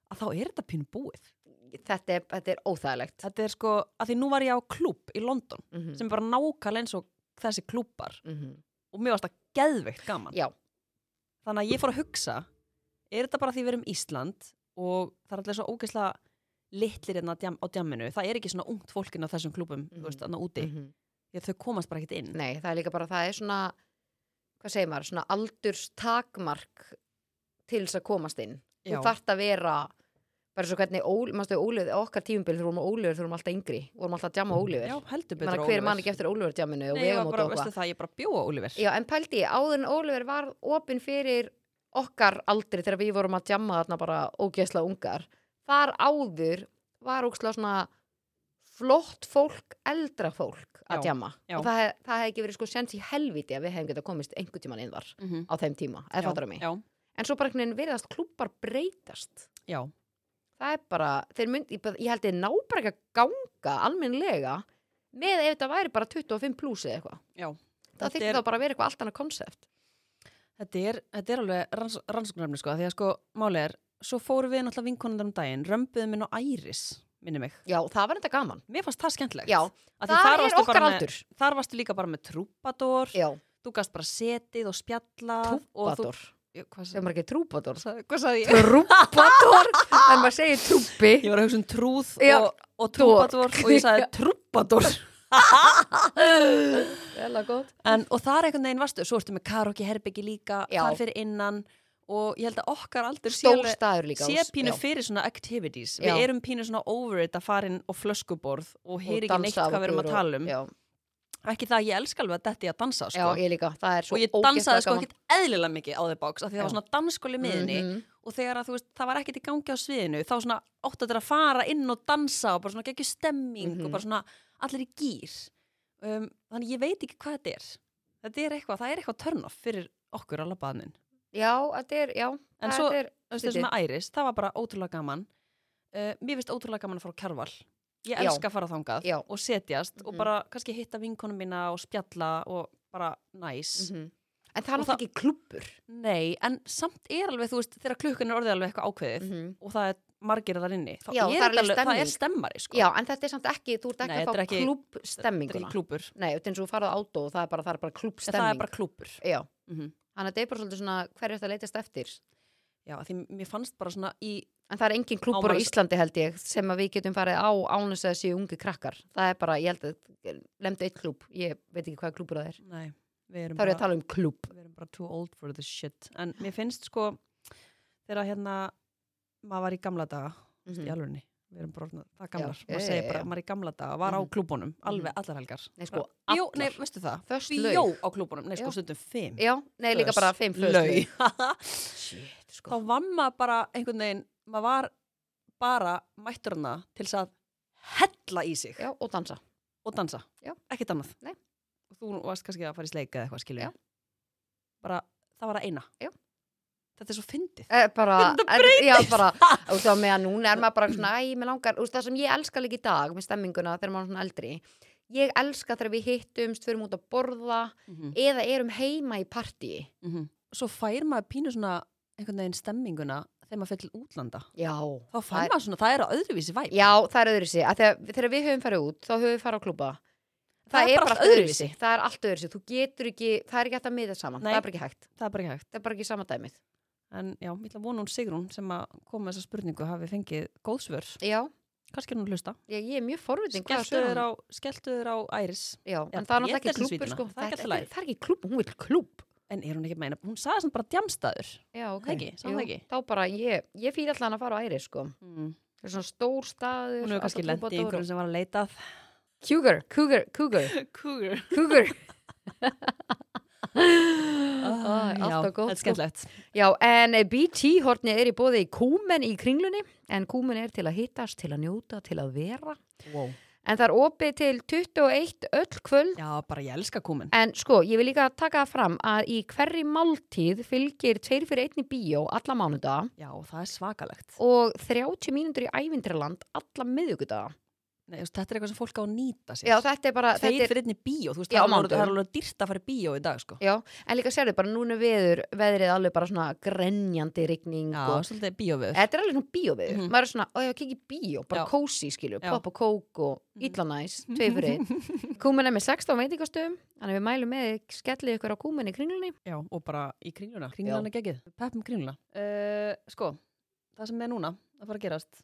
Speaker 5: að þá er þetta pínu búið
Speaker 4: Þetta er, þetta er óþægilegt
Speaker 5: þetta er sko, að því nú var ég á klúb í London
Speaker 4: mm -hmm.
Speaker 5: sem er bara nákvæmlega eins og þessi klúbar og mér varst það geðveikt gaman
Speaker 4: Mhm. Já,
Speaker 5: þannig að ég fór að hugsa er þetta bara því við erum Ísland og það er allir svo ógeðslega litlir hérna á djam- á djamminu, það er ekki svona ungt fólkin á þessum klubum, þú
Speaker 4: Mhm.
Speaker 5: veist, þannig úti mm
Speaker 4: mhm.
Speaker 5: þau komast bara ekkert inn
Speaker 4: nei, það er líka bara Það er svona, hvað segir maður Svona aldurstakmark Til þess að komast inn
Speaker 5: Já.
Speaker 4: Þú þarft að vera Bara svo hvernig, ól, mástu ólið Okkar tímubil þurfum að ólífur, þurfum alltaf yngri Vorum alltaf að djama ólífur
Speaker 5: Mm, Já, heldur
Speaker 4: Ég
Speaker 5: betur
Speaker 4: manna hver mann ekki eftir Ólífur djamminu og
Speaker 5: Nei, ég var
Speaker 4: vegum og
Speaker 5: bara,
Speaker 4: dópa
Speaker 5: veistu það, ég bara bjóa Oliver
Speaker 4: Já, en pældi ég, áður en Ólífur var opinn fyrir okkar aldri þegar við vorum að djamma þarna bara ógeðslega ungar þar áður var ógeðslega svona flott fólk, eldra fólk
Speaker 5: Já,
Speaker 4: að djamma
Speaker 5: já.
Speaker 4: og það, hef- það hefði ekki verið sko sens í helviti að við hefum getað komist einhvern tíman inn þar
Speaker 5: mm -hmm.
Speaker 4: á þeim tíma, eða fattur mig
Speaker 5: Já,
Speaker 4: en svo bara einhvern veginn virðast klúpar breytast
Speaker 5: já,
Speaker 4: það er bara, þeir myndi, ég bara- ég held ég ná bara ekki að ganga almennlega með ef þetta væri bara 25 pluss eða eitthvað
Speaker 5: já
Speaker 4: það
Speaker 5: Þetta
Speaker 4: þyrfti
Speaker 5: er-
Speaker 4: þá bara að vera eitthvað allt annað konsept
Speaker 5: Þetta er, þetta er alveg ranns, rannsóknarefni sko, af því að sko, máli er, svo fórum við náttúrulega vinkonundar um daginn, römbuðum minn á Æris, minni mig.
Speaker 4: Já, það var enda gaman.
Speaker 5: Mér fannst það skemmtilegt.
Speaker 4: Já,
Speaker 5: Af því
Speaker 4: það
Speaker 5: þar
Speaker 4: er
Speaker 5: varstu bara
Speaker 4: okkar
Speaker 5: með-
Speaker 4: aldur.
Speaker 5: Þar varstu líka bara með trúpador,
Speaker 4: Já,
Speaker 5: þú gast bara setið og spjallað
Speaker 4: trúbador.
Speaker 5: og þú, Ég- hvað,
Speaker 4: Sem maður ekki trúbador.
Speaker 5: sagði, hvað sagði ég?
Speaker 4: Trúbador, en maður segir trúbi.
Speaker 5: ég var að hugsa um trúð
Speaker 4: Já,
Speaker 5: og, og trúbador og ég sagði trúbador
Speaker 4: Vel að gott.
Speaker 5: en, og þar einhvern veginn varstu, svo ertu með karaoke herbyggi líka,
Speaker 4: Já.
Speaker 5: þar fyrir innan og ég held að okkar aldur sé
Speaker 4: Stór
Speaker 5: alveg-
Speaker 4: staður líka.
Speaker 5: sé
Speaker 4: og-
Speaker 5: pínu
Speaker 4: já.
Speaker 5: fyrir svona activities
Speaker 4: Já.
Speaker 5: við erum pínu svona over it að fara inn og flöskuborð og
Speaker 4: Og
Speaker 5: heyri ekki
Speaker 4: dansa
Speaker 5: neitt
Speaker 4: af
Speaker 5: hvað við erum
Speaker 4: okkur
Speaker 5: að
Speaker 4: og-
Speaker 5: tala um
Speaker 4: Já,
Speaker 5: ekki það að ég elska alveg að detti að dansa sko.
Speaker 4: já, ég líka. Það er svo
Speaker 5: og ég
Speaker 4: ógeðslega
Speaker 5: dansaði sko
Speaker 4: gaman.
Speaker 5: ekkert eðlilega mikið á þeir bóks af því það
Speaker 4: Já.
Speaker 5: var svona danskóli miðinni
Speaker 4: Mhm.
Speaker 5: og þegar að þú veist, það var ekkert í gangi á sviðinu þá svona ótt að þetta að fara inn og dansa og bara svona geggjur stemming
Speaker 4: Mhm.
Speaker 5: og bara svona allir í gýr um, þannig ég veit ekki hvað þetta er þetta er eitthvað, það er eitthvað törnoff fyrir okkur á labbaðnin
Speaker 4: Já, þetta er, já.
Speaker 5: En
Speaker 4: það
Speaker 5: svo-
Speaker 4: er-
Speaker 5: þess
Speaker 4: Skrítið.
Speaker 5: að æris, það var bara ótrúlega gaman uh, mér finnst ótrúlega gaman að fara á kjarval ég
Speaker 4: Já.
Speaker 5: elska að fara þangað
Speaker 4: Já.
Speaker 5: og setjast og
Speaker 4: Mhm.
Speaker 5: bara kannski hitta vinkonum mína og spjalla og bara næs
Speaker 4: Mhm. En það er
Speaker 5: Og
Speaker 4: náttúrulega ekki klúpur.
Speaker 5: Nei, en samt er alveg, þú veist, þegar klukkan er orðið alveg eitthvað ákveðið
Speaker 4: Mhm.
Speaker 5: og það er margir þar inni,
Speaker 4: Já,
Speaker 5: þá er,
Speaker 4: það er
Speaker 5: þetta
Speaker 4: alveg
Speaker 5: það er
Speaker 4: stemning.
Speaker 5: stemmari, sko.
Speaker 4: Já, en þetta er samt ekki, þú ert ekki
Speaker 5: Nei,
Speaker 4: að
Speaker 5: þetta
Speaker 4: fá
Speaker 5: er ekki- þetta er
Speaker 4: klúbstemminguna.
Speaker 5: ekki klúpur.
Speaker 4: Nei, þetta er eins og þú farið á átó og það er bara, það er bara
Speaker 5: En það er
Speaker 4: klúbstemming.
Speaker 5: bara klúpur.
Speaker 4: Já,
Speaker 5: Mm
Speaker 4: þannig að þetta er bara svolítið svona hverju þetta leytast eftir.
Speaker 5: Já, því mér fannst bara svona í,
Speaker 4: En það er engin klúpur á
Speaker 5: Ámælis-
Speaker 4: Íslandi held ég sem að við getum farið á ánum þess að séu ungi krakkar. Það er bara, ég held að lemdu eitt klúb, ég veit ekki hvað klúpur það er.
Speaker 5: nei, við erum,
Speaker 4: Það er ég að
Speaker 5: bara,
Speaker 4: tala um klúb.
Speaker 5: við erum bara too old for this shit. En mér finnst sko, þegar hérna, maður var í gamla daga, mm í
Speaker 4: Mhm.
Speaker 5: alvegni, við erum bara orðnar, það gamlar,
Speaker 4: Já,
Speaker 5: maður
Speaker 4: já,
Speaker 5: segir
Speaker 4: já,
Speaker 5: bara,
Speaker 4: já.
Speaker 5: maður í gamla daga, var
Speaker 4: Mhm.
Speaker 5: á klúbunum, alveg allar helgar.
Speaker 4: Nei, sko,
Speaker 5: Bara- Bjó,
Speaker 4: allar.
Speaker 5: nei, veistu það?
Speaker 4: Föst
Speaker 5: Bjó
Speaker 4: laug.
Speaker 5: á klúbunum, nei, sko,
Speaker 4: Já.
Speaker 5: stundum fimm.
Speaker 4: Já, nei, líka
Speaker 5: Föst
Speaker 4: bara fimm föst laug.
Speaker 5: laug.
Speaker 4: Shit,
Speaker 5: þá
Speaker 4: sko.
Speaker 5: var maður bara einhvern veginn, maður var bara mættur hana til þess að hella í sig
Speaker 4: Já, og dansa.
Speaker 5: og dansa,
Speaker 4: Já.
Speaker 5: ekkert annað.
Speaker 4: Nei.
Speaker 5: Og þú varst kannski að fara í sleika eða eitthvað, skilur
Speaker 4: Já.
Speaker 5: við. Bara, það var að eina.
Speaker 4: Já.
Speaker 5: Þetta er svo fyndið.
Speaker 4: Eh, bara,
Speaker 5: Þetta
Speaker 4: en- já, bara, þú veist, á meðan núna er maður bara svona, æ, mér langar, þú veist, það sem ég elska líka í dag með stemminguna þegar maður er svona eldri. Ég elska þegar við hittumst, förum út að borða
Speaker 5: Mm -hmm.
Speaker 4: eða erum heima í partíi.
Speaker 5: Svo fær maður pínu svona einhvern veginn stemminguna þegar maður fyrir til útlanda.
Speaker 4: Já.
Speaker 5: Þá
Speaker 4: það
Speaker 5: fær
Speaker 4: er-
Speaker 5: maður svona, það er á öðruvísi væp.
Speaker 4: Já, það er öðruvísi. að Þegar, þegar við höfum farið út, þá höfum við farið á klúpa. Það, er bara allt öðruvísi. Það er allt öðruvísi. Þú getur ekki, það er ekki hægt að miða saman.
Speaker 5: Nei.
Speaker 4: Það er bara ekki hægt.
Speaker 5: Það er bara ekki hægt.
Speaker 4: Það er bara ekki sama dæmið.
Speaker 5: En já, ég ætla að vona hún Sigrún sem að koma með þessa spurningu hafi fengið góðsvör.
Speaker 4: Já,
Speaker 5: kannski er hún að hlusta
Speaker 4: ég, ég er mjög forvitin hvað
Speaker 5: Skelltu
Speaker 4: sögur
Speaker 5: þér
Speaker 4: hún-
Speaker 5: á, skelltu þér á Æris
Speaker 4: Já, en það
Speaker 5: Já,
Speaker 4: er
Speaker 5: ég
Speaker 4: náttúrulega
Speaker 5: ætla
Speaker 4: ekki
Speaker 5: þessu
Speaker 4: klúpur
Speaker 5: svítuna.
Speaker 4: sko.
Speaker 5: Það er ekki allt í lagi.
Speaker 4: það er ekki klúb, hún vil klúb
Speaker 5: En er hún ekki að meina, hún sagði samt bara djamstaður
Speaker 4: Já, ok,
Speaker 5: Það ekki, sagði hún
Speaker 4: Jú,
Speaker 5: það ekki? Mm.
Speaker 4: Þá bara, ég, ég fýr alltaf hann að fara á æri sko. Það er svona stór staður
Speaker 5: Hún hefur kannski lendið í einhverjum sem var að leita að
Speaker 4: Cougar, cougar, cougar,
Speaker 5: Kúgur
Speaker 4: cougar Æ,
Speaker 5: Alltaf
Speaker 4: alltaf gott,
Speaker 5: Þetta er
Speaker 4: sko.
Speaker 5: skemmtlegt
Speaker 4: Já, en BT-hortni er í bóði í kúmen í kringlunni En kúmen er til að hittast, til að njóta, til að vera
Speaker 5: wow.
Speaker 4: En það er opið til 21 öll kvöld
Speaker 5: Já, bara ég elska kúmin
Speaker 4: En sko, ég vil líka taka það fram að í hverri máltíð fylgir 2 fyrir 1 bíó alla mánudaga
Speaker 5: Já, það er svakalegt
Speaker 4: og 30 mínútur í ævindraland alla miðugudaga.
Speaker 5: Nei, þú veist, Þetta er eitthvað sem fólk á að nýta sér
Speaker 4: Já, þetta er bara,
Speaker 5: Tveir
Speaker 4: þetta er,
Speaker 5: fyrir einni bíó, þú veist,
Speaker 4: Já,
Speaker 5: það er alveg-
Speaker 4: mánudaginn.
Speaker 5: það er alveg dýrt að fara í bíó í dag, sko
Speaker 4: já, en líka sérðu bara núna veður, veðrið alveg bara svona grenjandi rigning
Speaker 5: Já,
Speaker 4: og
Speaker 5: svolítið bíóveður
Speaker 4: þetta er alveg svona bíóveður.
Speaker 5: Mhm.
Speaker 4: Maður er svona, ó já, kikið bíó, bara
Speaker 5: Já.
Speaker 4: kósi, skilju,
Speaker 5: Já. Mhm.
Speaker 4: pop og kók og illa næs, tvei fyrir einn. Kúmen er með 16 veitingastöðum, þannig við mælum með þið, skellið ykkur á kúmen í kringlunni.
Speaker 5: Já, og bara í kringluna, kringluna gegið Peppum kringluna uh, Sko, það sem er núna að fara að gerast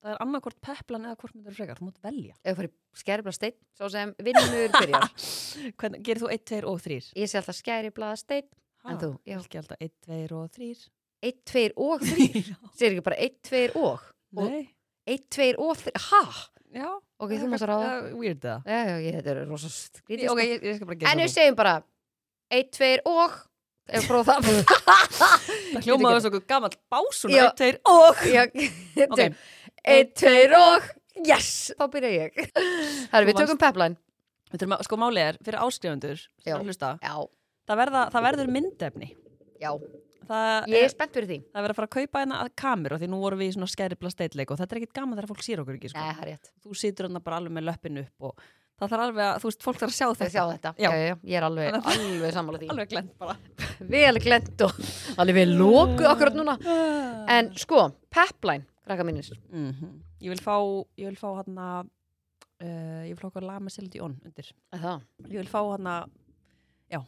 Speaker 5: Það er annarkvort peplan eða hvort myndir frekar, þú mátt velja
Speaker 4: Ef fyrir skeribla steinn, svo sem vinnur byrjar.
Speaker 5: Hvernig, gerir þú 1, 2 og 3?
Speaker 4: Ég sé alltaf skeribla steinn, en þú, já,
Speaker 5: Ekki alltaf 1, 2 og 3
Speaker 4: 1, 2 og 3. Sér ekki bara 1, 2 og, og
Speaker 5: Nei,
Speaker 4: 1, 2 og 3, hæ?
Speaker 5: já
Speaker 4: Ok, þú mást ráða.
Speaker 5: uh, Weird það
Speaker 4: Já, já, ég, þetta er rosa skrítið
Speaker 5: Ok,
Speaker 4: sko.
Speaker 5: ég, ég skal bara
Speaker 4: En
Speaker 5: gera
Speaker 4: við segjum bara 1, 2 og Ef prófa það
Speaker 5: Það hljómaður svo gammal básun
Speaker 4: Já.
Speaker 5: 1, 2 og
Speaker 4: Já,
Speaker 5: Ok,
Speaker 4: 1, 2 og Yes, þá byrja ég Herru, við
Speaker 5: Þú
Speaker 4: tökum pepline
Speaker 5: við þurfum að, sko málið er fyrir áskrifundur
Speaker 4: Já.
Speaker 5: það,
Speaker 4: Já,
Speaker 5: verða, það verður myndefni
Speaker 4: já,
Speaker 5: Það
Speaker 4: ég er spennt fyrir því Nei,
Speaker 5: Það er verið að fara að kaupa hérna að kameru því nú vorum við í svona skæribla steitleik og þetta er ekkit gaman þegar fólk sér okkur ekki sko.
Speaker 4: það er rétt
Speaker 5: Þú situr hérna bara alveg með löppin upp og það þarf alveg að, þú veist, fólk þarf að sjá
Speaker 4: Þau
Speaker 5: þetta.
Speaker 4: sjá þetta, já,
Speaker 5: Já.
Speaker 4: já, já, ég er alveg, alveg sammála því
Speaker 5: Alveg glend bara.
Speaker 4: Vel glend og alveg við lóku akkurat núna En sko, pepline, krakka mínir
Speaker 5: Ég vil fá, ég vil fá hérna, uh, ég vil fá okkur lama sildi on undir.
Speaker 4: Það,
Speaker 5: Ég vil fá hérna, já.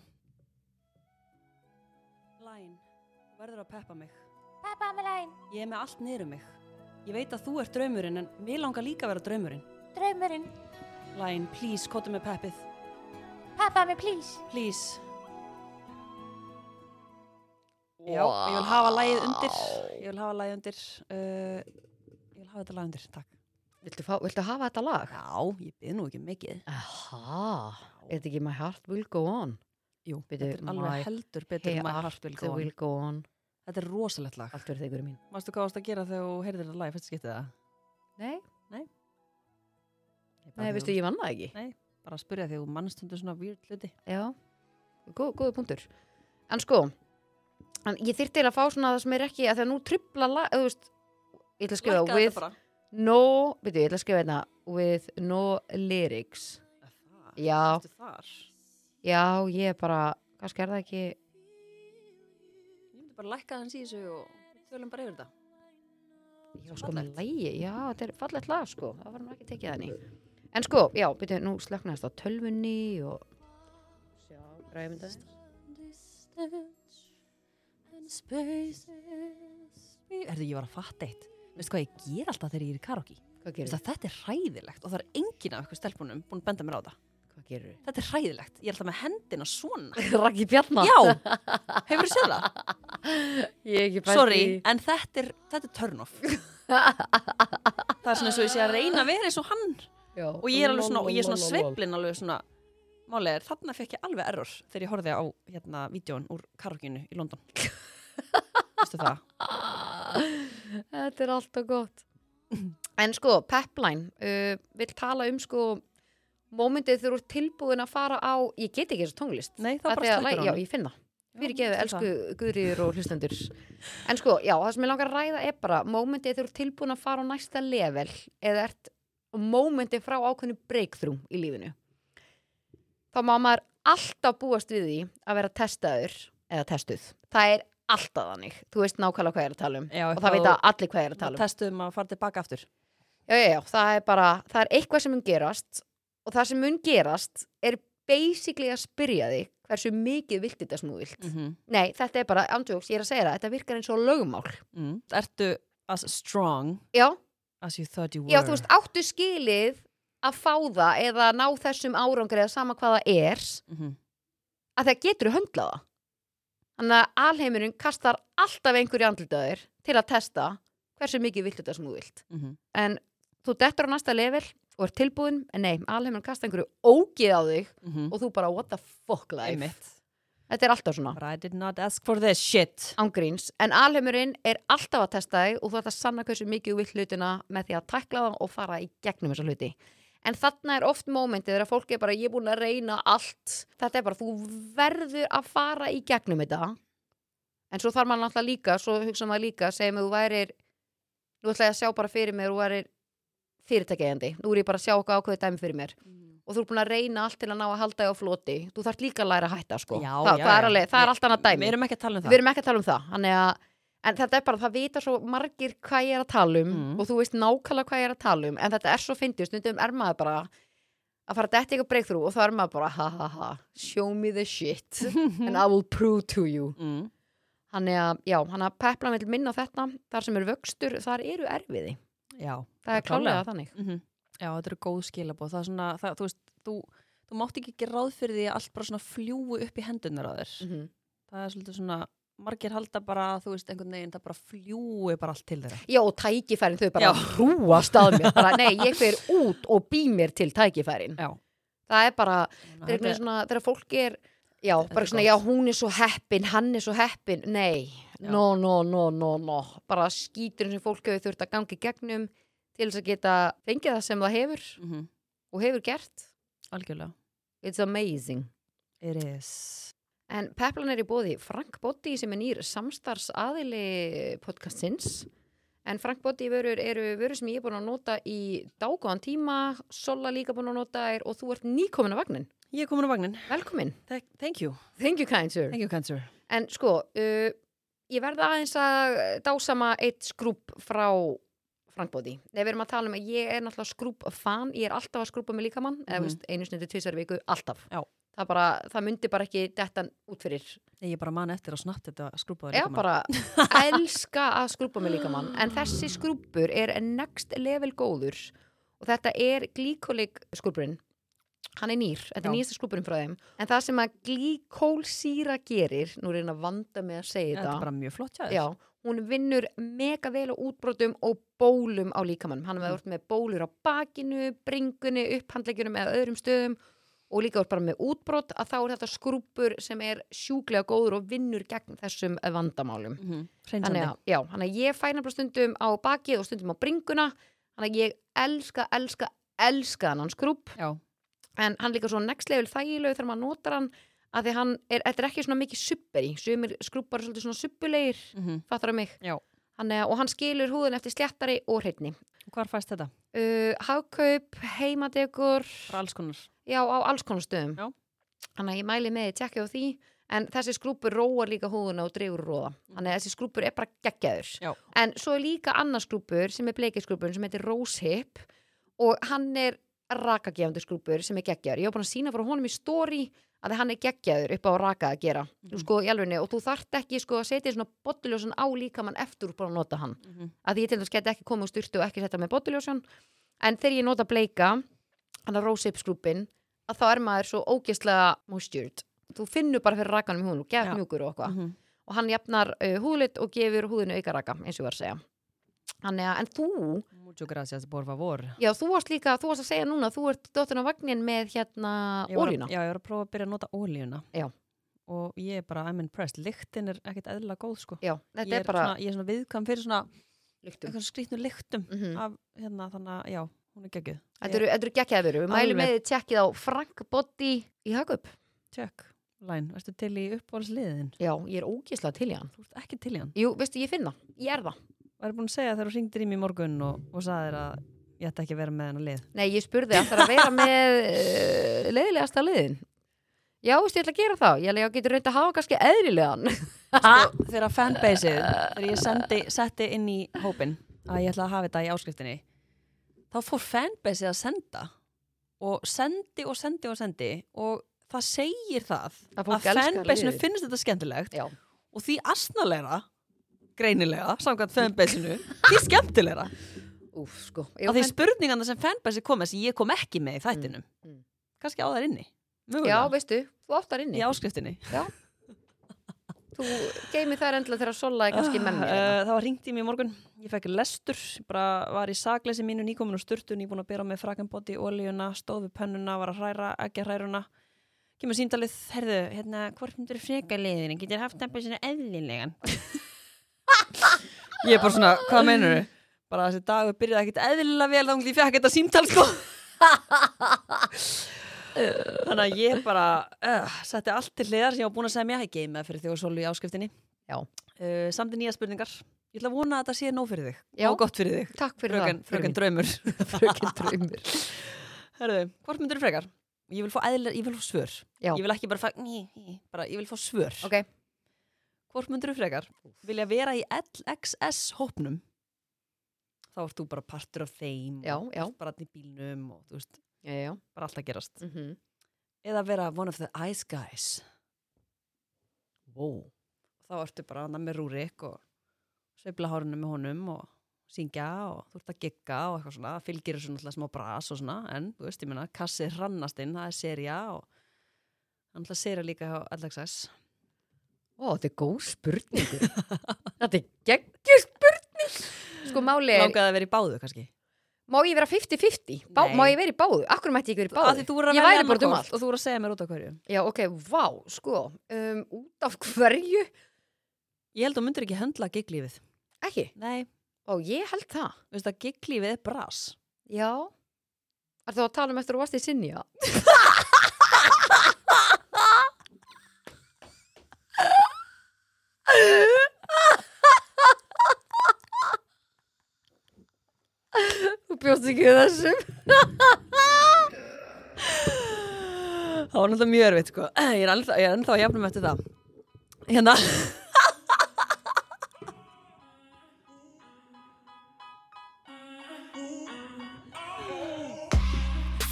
Speaker 5: Læn, þú verður að peppa mig.
Speaker 2: Peppa mig læn,
Speaker 5: Ég er með allt niður um mig. Ég veit að þú ert draumurinn en mér langar líka að vera draumurinn.
Speaker 2: draumurinn.
Speaker 5: Læn, please, kottu með peppið.
Speaker 2: Peppa mig please.
Speaker 5: Please Já, ég vil hafa lagið undir Ég vil hafa lagið undir uh, Ég vil hafa þetta lagið undir, takk
Speaker 4: viltu, fá, viltu hafa þetta lag?
Speaker 5: Já, ég byrði nú ekki um mikið
Speaker 4: Aha, er þetta ekki My Heart Will Go On?
Speaker 5: Jú,
Speaker 4: Bíddu,
Speaker 5: þetta er
Speaker 4: my-
Speaker 5: alveg heldur betur
Speaker 4: Hey,
Speaker 5: hey,
Speaker 4: allt
Speaker 5: heart,
Speaker 4: Will
Speaker 5: will...
Speaker 4: Go On
Speaker 5: Þetta er rosalegt lag
Speaker 4: Allt verður þegur mín
Speaker 5: Mástu hvað ást að gera þegar þú heyrðir þetta lag, fyrst skiptið það?
Speaker 4: Nei,
Speaker 5: Ég bara
Speaker 4: nei
Speaker 5: því
Speaker 4: veistu,
Speaker 5: þú-
Speaker 4: ég vann það ekki
Speaker 5: Bara að spyrja því að þú mannstundu svona weird hluti
Speaker 4: Já, Gó, góðu punktur En sko en Ég þyrfti að fá svona það sem er ekki að Það nú tripla lag, þú veist Ég ætla að skrifa
Speaker 5: Lækkaðu
Speaker 4: with
Speaker 5: þetta bara.
Speaker 4: no Veitu, ég ætla að skrifa hérna With no lyrics
Speaker 5: Það,
Speaker 4: Já.
Speaker 5: ertu þar?
Speaker 4: Já, ég er bara, kannski er það ekki
Speaker 5: Ég myndi bara lækka hans í þessu og við tölum bara yfir þetta
Speaker 4: Ég var sko með lægi, já, þetta er fallegt lag sko Það var nú ekki tekið þannig En sko, já, veitu, nú slöknaðist á tölvunni og Sjá, græðum þetta aðeins.
Speaker 5: Erðu ég var að fatta eitt Veistu hvað ég ger alltaf þegar ég er í karaoke
Speaker 4: Hvað
Speaker 5: Veistu
Speaker 4: gerir
Speaker 5: að þetta er hræðilegt og það er enginn af ykkur stelpunum búin að benda mér á það
Speaker 4: Hvað gerir
Speaker 5: Þetta er hræðilegt, ég er alltaf með hendina svona
Speaker 4: Raki Bjarnar
Speaker 5: Já, hefur þú séð það?
Speaker 4: Ég er ekki bæti
Speaker 5: Sorry, en þetta er, þetta er turn off Það er svona eins og ég sé að reyna að vera eins og hann
Speaker 4: Já.
Speaker 5: og ég er alveg svona, og ég er svona sveiflin alveg svona Málega er, þarna fekk ég alveg error þegar ég horfði á hérna vídjón úr karaokeinu í London Veistu það?
Speaker 4: Þetta er alltaf gott En sko, Pepline uh, vil tala um sko mómentið þegar þú ert tilbúin að fara á ég get ekki þessu tónlist
Speaker 5: Nei, þá
Speaker 4: Af
Speaker 5: bara
Speaker 4: því að
Speaker 5: slekkur
Speaker 4: læ-
Speaker 5: á
Speaker 4: Já,
Speaker 5: honum.
Speaker 4: ég finn það
Speaker 5: Já,
Speaker 4: Fyrir geðu,
Speaker 5: til
Speaker 4: elsku guðrýður og hlustendur En sko, já, það sem ég langar að ræða er bara mómentið þegar þú ert tilbúin að fara á næsta level eða ert mómentið frá ákveðnu breakthrough í lífinu þá má maður alltaf búast við því að vera testaður eða testuð. Það er alltaf þannig. Þú veist nákvæmlega hvað ég er að tala um
Speaker 5: Já,
Speaker 4: og það
Speaker 5: þá-
Speaker 4: veit að allir hvað ég er að
Speaker 5: Það
Speaker 4: tala um.
Speaker 5: testum að fara tilbaka aftur
Speaker 4: Já, já, já, það er bara, það er eitthvað sem mun gerast og það sem mun gerast er basically að spyrja því hversu mikið vilt þetta sem þú vilt.
Speaker 5: -hmm.
Speaker 4: Nei, þetta er bara, andjóks, ég er að segja það, þetta virkar eins og lögumál.
Speaker 5: Ertu as Mm. strong
Speaker 4: Já,
Speaker 5: As you thought you were.
Speaker 4: Já, þú veist, áttu skilið að fá það eða ná þessum árangri eða sama hvað það er
Speaker 5: Mhm.
Speaker 4: að það getur höndlað það þannig að alheimurinn kastar alltaf einhverju andlitaðir til að testa hversu mikið vilt þetta sem þú vilt
Speaker 5: Mhm.
Speaker 4: en þú dettur á næsta level og er tilbúin, en nei, alheimurinn kastar einhverju ógið á þig
Speaker 5: Mhm.
Speaker 4: og þú bara what the fuck life
Speaker 5: Einmitt.
Speaker 4: þetta er alltaf svona
Speaker 5: But I did not ask for this
Speaker 4: Sko.
Speaker 5: shit.
Speaker 4: ángríns, en alheimurinn er alltaf að testa þig og þú ert að sanna hversu mikið þú vill hlutina með því að tækla það og fara í gegnum þessa hluti. En þarna er oft mómentið þegar fólk er bara, ég er búin að reyna allt. Þetta er bara, þú verður að fara í gegnum þetta. En svo þarf maður náttúrulega líka, svo hugsa maður líka, segjum við, þú værir, nú ætla ég að sjá bara fyrir mér, þú værir fyrirtækjandi. Nú er ég bara að sjá okkar ákveðið dæmi fyrir mér.
Speaker 5: Mm.
Speaker 4: Og þú er búin að reyna allt til að ná að halda þig á floti. Þú þarf líka að læra að hætta, sko.
Speaker 5: Já,
Speaker 4: það,
Speaker 5: já,
Speaker 4: það, er
Speaker 5: já.
Speaker 4: alveg, það
Speaker 5: Við-
Speaker 4: er allt annað dæmi
Speaker 5: Við erum ekki að tala um það.
Speaker 4: við erum ekki að tala um það þannig að En þetta er bara, það vita svo margir hvað ég er að tala um
Speaker 5: Mm.
Speaker 4: og þú veist nákvæmlega hvað ég er að tala um en þetta er svo fyndið, stundum er maður bara að fara að detta eitthvað breakthrough og þá er maður bara ha ha ha, show me the shit and I will prove to you
Speaker 5: Mm.
Speaker 4: Þannig að, já, hann að pepla með minna á þetta, þar sem eru vöxtur þar eru erfiði,
Speaker 5: Já.
Speaker 4: það er
Speaker 5: Klárlega.
Speaker 4: klálega þannig
Speaker 5: Mm Já, þetta eru góð skilabóð. Það er svona, það, þú veist, þú, þú mátt ekki gera ráð fyrir því að allt bara svona fljúi upp í hendunar á þér.
Speaker 4: mm
Speaker 5: Það er svolítið svona, margir halda bara, þú veist, einhvern veginn, það bara fljúi bara allt til þeirra.
Speaker 4: Já, og tækifærin, þau bara
Speaker 5: Já.
Speaker 4: hrúast að mér, bara nei, ég fer út og bý mér til tækifærin
Speaker 5: Já.
Speaker 4: það er bara,
Speaker 5: Þannig að
Speaker 4: Þetta er einhvern veginn svona, þegar fólk er já, bara
Speaker 5: er
Speaker 4: svona,
Speaker 5: gott.
Speaker 4: já, hún er svo heppin hann er svo heppin, nei no, no, no, no, no, bara skíturinn sem fólk hefur þurft að gangi gegnum til þess að geta fengið það sem það hefur
Speaker 5: Mhm.
Speaker 4: og hefur gert,
Speaker 5: Algjörlega.
Speaker 4: it's amazing
Speaker 5: It is.
Speaker 4: En Peplan er í bóði Frank Boddi sem er nýr samstars aðili podcastins. En Frank Boddi vörur eru vörur sem ég er búin að nota í dágóðan tíma, Sola líka búin að nota þær og þú ert nýkomin á vagnin.
Speaker 5: Ég er komin á vagnin.
Speaker 4: Velkomin.
Speaker 5: Thank, thank you.
Speaker 4: Thank you kind sir.
Speaker 5: Thank you, cancer.
Speaker 4: En sko, uh, ég verða aðeins að dásama eitt skrúp frá Frankbóti. Nei, við erum að tala um að ég er náttúrulega skrúp fan, ég er alltaf að skrúpa með líkamann, mm. eða
Speaker 5: Mhm.
Speaker 4: veist, einu snundi tvisar viku, alltaf.
Speaker 5: Já.
Speaker 4: Það, bara, það myndi bara ekki dettan út fyrir.
Speaker 5: Nei, Ég bara man eftir að snatt þetta skrúpaður.
Speaker 4: Ég bara elska að skrúpa með líkamann, en þessi skrúpur er next level góður og þetta er glíkólik skrúpurinn. Hann er nýr, þetta er
Speaker 5: Já.
Speaker 4: nýjasta skrúpurinn frá þeim. En það sem að glíkólsýra gerir, nú er ég að reyna að vanda með að segja
Speaker 5: Þetta er bara mjög flott, já.
Speaker 4: Já, hún vinnur mega vel á útbrotum og bólum á líkamannum. Hann hefur verið með bólur á bakinu, bringunni, upphandlegjunum eða öðrum stöðum og líka úr bara með útbrot að þá er þetta skrúpur sem er sjúklega góður og vinnur gegn þessum vandamálum.
Speaker 5: Mm -hmm.
Speaker 4: Þannig að, já, hann að ég fæna bara stundum á bakið og stundum á bringuna. Þannig að ég elska, elska, elska hann skrúp
Speaker 5: Já.
Speaker 4: en hann líka svo next level þægilegu þegar maður notar hann að því hann er, þetta er ekki svona mikið supper í, sumir skrúpar eru svolítið svona suppulegir
Speaker 5: Mm -hmm.
Speaker 4: fattur á mig
Speaker 5: Já.
Speaker 4: hann, eh, og hann skilur húðun eftir sléttari og hreitni
Speaker 5: Hvar fæst þetta?
Speaker 4: uh, hagkaup, heimadegur
Speaker 5: Frá alls konar.
Speaker 4: já, á alls konar stöðum
Speaker 5: Já.
Speaker 4: þannig að ég mæli með því, tjekki á því en þessi skrúpur róar líka húðuna og dregur úr róða
Speaker 5: Mhm.
Speaker 4: þannig að þessi skrúpur er bara geggjaður
Speaker 5: Já.
Speaker 4: en svo er líka annar skrúpur sem er bleikiskrúpur sem heitir Rose Hip og hann er rakagefandi skrúpur sem er geggjaður, ég var búin að sína frá honum í story að hann er geggjaður upp á raka að gera sko, í alvegni, og þú þarft ekki sko, að setja svona bottuljósan á líkamann eftir úr bara að nota hann
Speaker 5: Mm -hmm.
Speaker 4: að því ég til dæmis geti ekki komið úr styrtu og ekki setja með botuljósjón en þegar ég nota bleika hann að rósa upp skrúpin að þá er maður svo ógeðslega moistured þú finnur bara fyrir rakanum í húnu,
Speaker 5: Já.
Speaker 4: gett mjúkur og eitthvað
Speaker 5: Mhm.
Speaker 4: og hann jafnar uh, húðlit og gefur húðinu auka raka eins og ég var að segja Þannig að, en þú,
Speaker 5: Mucho gracias, por favor.
Speaker 4: já þú varst líka, þú varst að segja núna, þú ert dottin á vagnin með hérna
Speaker 5: Ég var að-
Speaker 4: ólína.
Speaker 5: Já, ég var að prófa að byrja að nota ólíuna.
Speaker 4: Já.
Speaker 5: Og ég er bara, I'm impressed. Lyktin er ekkert eðla góð, sko.
Speaker 4: Já,
Speaker 5: Ég
Speaker 4: þetta
Speaker 5: er,
Speaker 4: er bara
Speaker 5: svona, ég er svona viðkvæm fyrir svona
Speaker 4: lyktum.
Speaker 5: eitthvað skrýtnu lyktum
Speaker 4: Mm -hmm.
Speaker 5: af hérna, þannig að, já, hún er geggjuð.
Speaker 4: Þetta eru, þetta eru gekkjaðið veru, við mælum
Speaker 5: Alveg.
Speaker 4: með þið tjekkið á Frank Boddy í Hagup.
Speaker 5: Tjökk, læn, ertu til í uppbólsliðin?
Speaker 4: Já, ég er ógeðslega til í hann.
Speaker 5: Þú ert ekki til í hann.
Speaker 4: Jú, veistu, ég finn það, ég er það.
Speaker 5: Og er búin að segja þegar þú ringdir í mig í morgun og, og sagði þér að ég ætti ekki að vera með hennar lið.
Speaker 4: Nei, ég spurði að það er að vera með uh, leiðilegasta liðin. Já, veistu, ég ætla að gera það. Ég ætla að getur reynd að hafa kannski eðlilegan. Ah.
Speaker 5: Sko, þegar fanbaseið, þegar ég sendi, setti inn í hópin að ég ætla að hafa þetta í áskriftinni, þá fór fanbaseið að senda og sendi og sendi og sendi og það segir það
Speaker 4: Að
Speaker 5: að
Speaker 4: fólk elskar
Speaker 5: fanbaseinu
Speaker 4: liðið.
Speaker 5: finnst þetta skemmtilegt
Speaker 4: Já.
Speaker 5: og því asnalegra, greinilega, samkvæmt fanbaseinu, því skemmtilegra.
Speaker 4: Úf, sko
Speaker 5: Af því spurningarna sem fanbæsi koma sem ég kom ekki með í þættinum
Speaker 4: Mm, mm.
Speaker 5: kannski á þær inni
Speaker 4: Já,
Speaker 5: Mögulega.
Speaker 4: veistu, þú áttar inni
Speaker 5: í áskriftinni
Speaker 4: Þú geymir þær endla þegar að sola er kannski með mér hérna.
Speaker 5: Eh, Það var ringt í mig í morgun, ég fekk lestur, bara var í sakleysi mínu nýkomin og sturtun, ég búin að bera með frakanbóti, ólíuna, stóð við pönnuna, var að hræra, ekki að hræra hana. Kemur síndalið, herðu, hérna, hvort myndur freka liðinu, getur haft tempið sinna eðlilegan? ég er bara svona, hvað meinur þau? Bara þessi dagur byrjaði ekkert eðlilega vel þá ég fekk þetta síndal sko. Þannig að ég bara uh, setti allt til hliðar sem ég var búin að segja mér, ég geymi það fyrir því að sólu í áskriftinni
Speaker 4: Já,
Speaker 5: uh, samt í nýja spurningar ég ætla að vona að þetta sé nóg fyrir þig
Speaker 4: Já.
Speaker 5: og gott fyrir þig
Speaker 4: takk fyrir
Speaker 5: Ah, fröken,
Speaker 4: það
Speaker 5: fröken draumur
Speaker 4: fröken draumur
Speaker 5: Herðu, hvort myndir frekar? ég vil fá, eðlir, ég vil fá svör
Speaker 4: Já.
Speaker 5: ég vil ekki bara fá ný, ný, bara, ég vil fá svör
Speaker 4: Ok,
Speaker 5: hvort myndir frekar? vilja vera í LXS hópnum þá ert þú bara partur af þeim
Speaker 4: já,
Speaker 5: og
Speaker 4: já,
Speaker 5: ert bara allir í bílnum og þú veist,
Speaker 4: já, já.
Speaker 5: bara allt að gerast
Speaker 4: Mm -hmm.
Speaker 5: eða vera one of the ice guys wow. þá ertu bara annað með rúrik og sveifla hárinu með honum og syngja og þú ert að gigga og eitthvað svona, það fylgir þessu náttúrulega smá bras og svona, en þú veist, ég meina, kassi hrannast inn, það er serja og náttúrulega serja líka hjá LXS
Speaker 4: Ó, þetta er góð spurningur Þetta er geggjur spurning Sko máli er,
Speaker 5: Langaði að vera í báðu kannski
Speaker 4: má ég vera 50-50? Bá-
Speaker 5: Nei.
Speaker 4: Má ég vera í báðu? Akkur mætti ég ekki
Speaker 5: Af
Speaker 4: vera í
Speaker 5: því þú voru
Speaker 4: báðu?
Speaker 5: að
Speaker 4: Ég
Speaker 5: velja
Speaker 4: væri bara um
Speaker 5: annaðhvort
Speaker 4: allt
Speaker 5: Og þú voru að segja mér út af hverju
Speaker 4: Já, ok, vá, sko um, Út af hverju?
Speaker 5: Ég held að þú myndir ekki höndla gigglífið
Speaker 4: Ekki,
Speaker 5: Nei,
Speaker 4: ó, ég held það
Speaker 5: þú veist að gigglífið er bras
Speaker 4: Já Er þú að tala um eftir að þú varst í sinja? Þú bjóst ekki við þessum
Speaker 5: Það var náttúrulega mjög erfitt sko Ég er ennþá, ég er ennþá að jafnum eftir það Hérna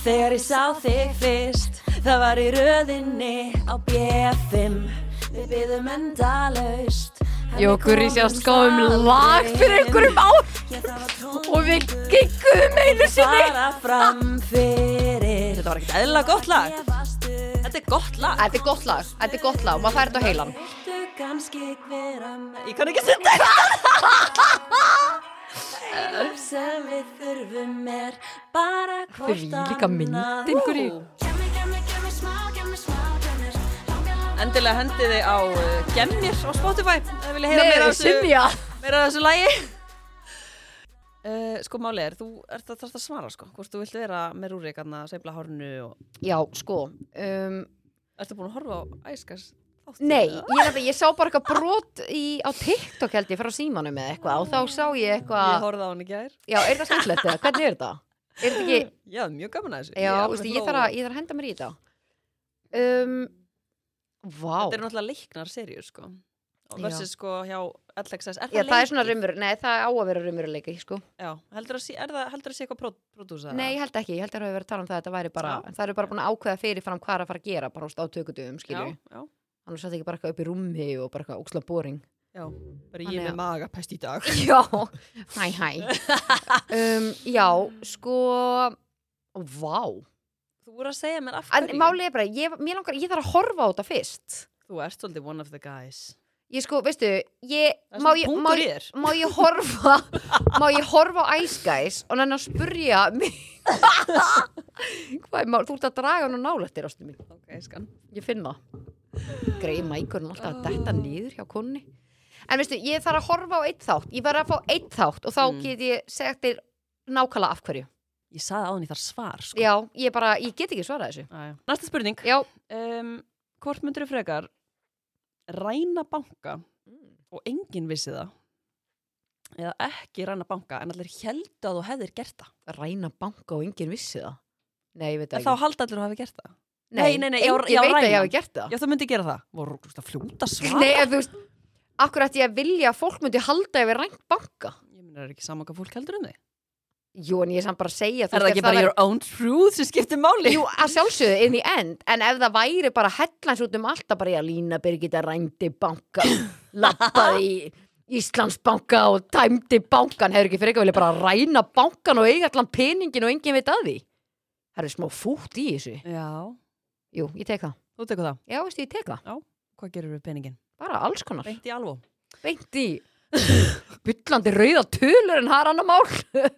Speaker 5: Þegar ég sá þig fyrst Það var í röðinni á BFM Við byðum endalaust
Speaker 4: Jó, Guri sjást gáðum um lag fyrir einhverjum á og við gengum einu sinni
Speaker 5: Fara fram fyrir Þetta var ekkert eðla gott lag Þetta er gott lag
Speaker 4: Þetta er gott lag, þetta er gott lag, maður fær þetta á heilan
Speaker 5: Ég kann ekki að synda
Speaker 4: Við líka myndin, Guri
Speaker 5: Endilega hendið þið á uh, Gemmir á Spotify Það vilja heyra
Speaker 4: Nei,
Speaker 5: meira af þessu,
Speaker 4: sinja
Speaker 5: meira af þessu lægi uh, Sko máli er, þú ert að þarft að svara sko Hvort þú vilt vera með rúrik að sveifla hárnu og
Speaker 4: Já, sko um,
Speaker 5: Ertu búin að horfa á æskas
Speaker 4: Nei, ég, nefnir, ég sá bara eitthvað brot í, á TikTok held ég frá símanum eða eitthvað og þá sá ég
Speaker 5: Ég
Speaker 4: eitthvað
Speaker 5: horfði á hann í gær
Speaker 4: Já, er það skemmtilegt eða? Hvernig er þetta? Er þetta ekki
Speaker 5: Já, mjög gaman að þessu
Speaker 4: Já,
Speaker 5: alveg
Speaker 4: veistu, ég
Speaker 5: hló.
Speaker 4: þarf að, ég þarf að henda mér í þetta um, Vá
Speaker 5: Þetta eru náttúrulega leiknar serjur sko
Speaker 4: Já.
Speaker 5: Og versus sko hjá LXS Er
Speaker 4: Já, það er
Speaker 5: leikið?
Speaker 4: svona rumur, nei, það á að vera rumurleiki, sko.
Speaker 5: Já, heldur að sé, er það, heldur að sé eitthvað pró- prodúsa?
Speaker 4: Nei, ég held ekki, ég held að það hefur verið að tala um það að þetta væri bara,
Speaker 5: Já.
Speaker 4: en það eru bara búin að ákveða fyrirfram hvað er að fara að gera, bara húst á tökutöfum,
Speaker 5: já,
Speaker 4: skilju.
Speaker 5: já,
Speaker 4: Annars satt ekki bara eitthvað upp í rúmi og bara eitthvað óksla boring.
Speaker 5: já, bara ég
Speaker 4: Þannig
Speaker 5: með
Speaker 4: að-
Speaker 5: magapest í dag
Speaker 4: Já, hæ, hæ. Um, já, sko, vá.
Speaker 5: Þú voru að segja mér af
Speaker 4: En
Speaker 5: hverju
Speaker 4: málið er bara, ég, mér langar, ég þarf að horfa á þetta fyrst.
Speaker 5: Þú ert svolítið one of the guys
Speaker 4: Ég sko, veistu, ég,
Speaker 5: Það er
Speaker 4: má
Speaker 5: svona
Speaker 4: ég, má
Speaker 5: punktur í
Speaker 4: ég,
Speaker 5: þér
Speaker 4: má ég horfa, má ég horfa á Ice Guys og hann að spurja mig, hvað er mál, þú ert að draga hann á nálættir, ástu mín.
Speaker 5: Ok, skan
Speaker 4: Ég finn það. Greið mækurinn alltaf að detta
Speaker 5: Ah.
Speaker 4: nýður hjá konni. En veistu, ég þarf að horfa á eitt þátt. Ég verð að fá eitt þátt og þá
Speaker 5: Mm.
Speaker 4: get ég segt þér nákvæmlega af hverju.
Speaker 5: Ég saði á henni þar svar sko.
Speaker 4: Já, ég bara, ég get ekki svarað þessu.
Speaker 5: Á, já. Næsta spurning
Speaker 4: Já.
Speaker 5: um, Hvort myndur þú frekar ræna banka
Speaker 4: Mm.
Speaker 5: og enginn vissi það eða ekki ræna banka en allir heldu að þú hefðir gert það
Speaker 4: Ræna banka og enginn vissi það. Nei, ég veit
Speaker 5: en
Speaker 4: það
Speaker 5: þá
Speaker 4: ekki.
Speaker 5: halda allir að þú hefði gert það nei, nei, nei, já,
Speaker 4: enginn
Speaker 5: já,
Speaker 4: veit að
Speaker 5: ræna.
Speaker 4: ég hafi gert það.
Speaker 5: Já, þú myndi gera það Voru þú veist, að fljóta svar
Speaker 4: Ah. Nei, ef þú veist, akkur ætti ég að vilja að fólk myndi halda ef ég rænt banka.
Speaker 5: Ég myndi er ekki saman hvað fólk heldur um þig
Speaker 4: Jú, en ég er samt bara að segja, þú
Speaker 5: Er það
Speaker 4: veist,
Speaker 5: ekki
Speaker 4: ef
Speaker 5: bara
Speaker 4: væri-
Speaker 5: your own truth sem skiptir máli?
Speaker 4: Jú, að sjálfsögðu in the end En ef það væri bara hellans út um alltaf bara ég að lína Birgitta rændi banka Lappaði í, Íslandsbanka og tæmdi bankan hefur ekki fyrir ekki að vilja bara ræna bankan og eiga allan peningin og enginn veit að því það er smá fútt í þessu
Speaker 5: Já.
Speaker 4: jú, ég tek það,
Speaker 5: Þú tekur það.
Speaker 4: já veistu ég tek það
Speaker 5: Hvað gerir við peningin?
Speaker 4: bara alls konar,
Speaker 5: Beint í alvo.
Speaker 4: beint í byllandi rauða tölur en það er annar mál það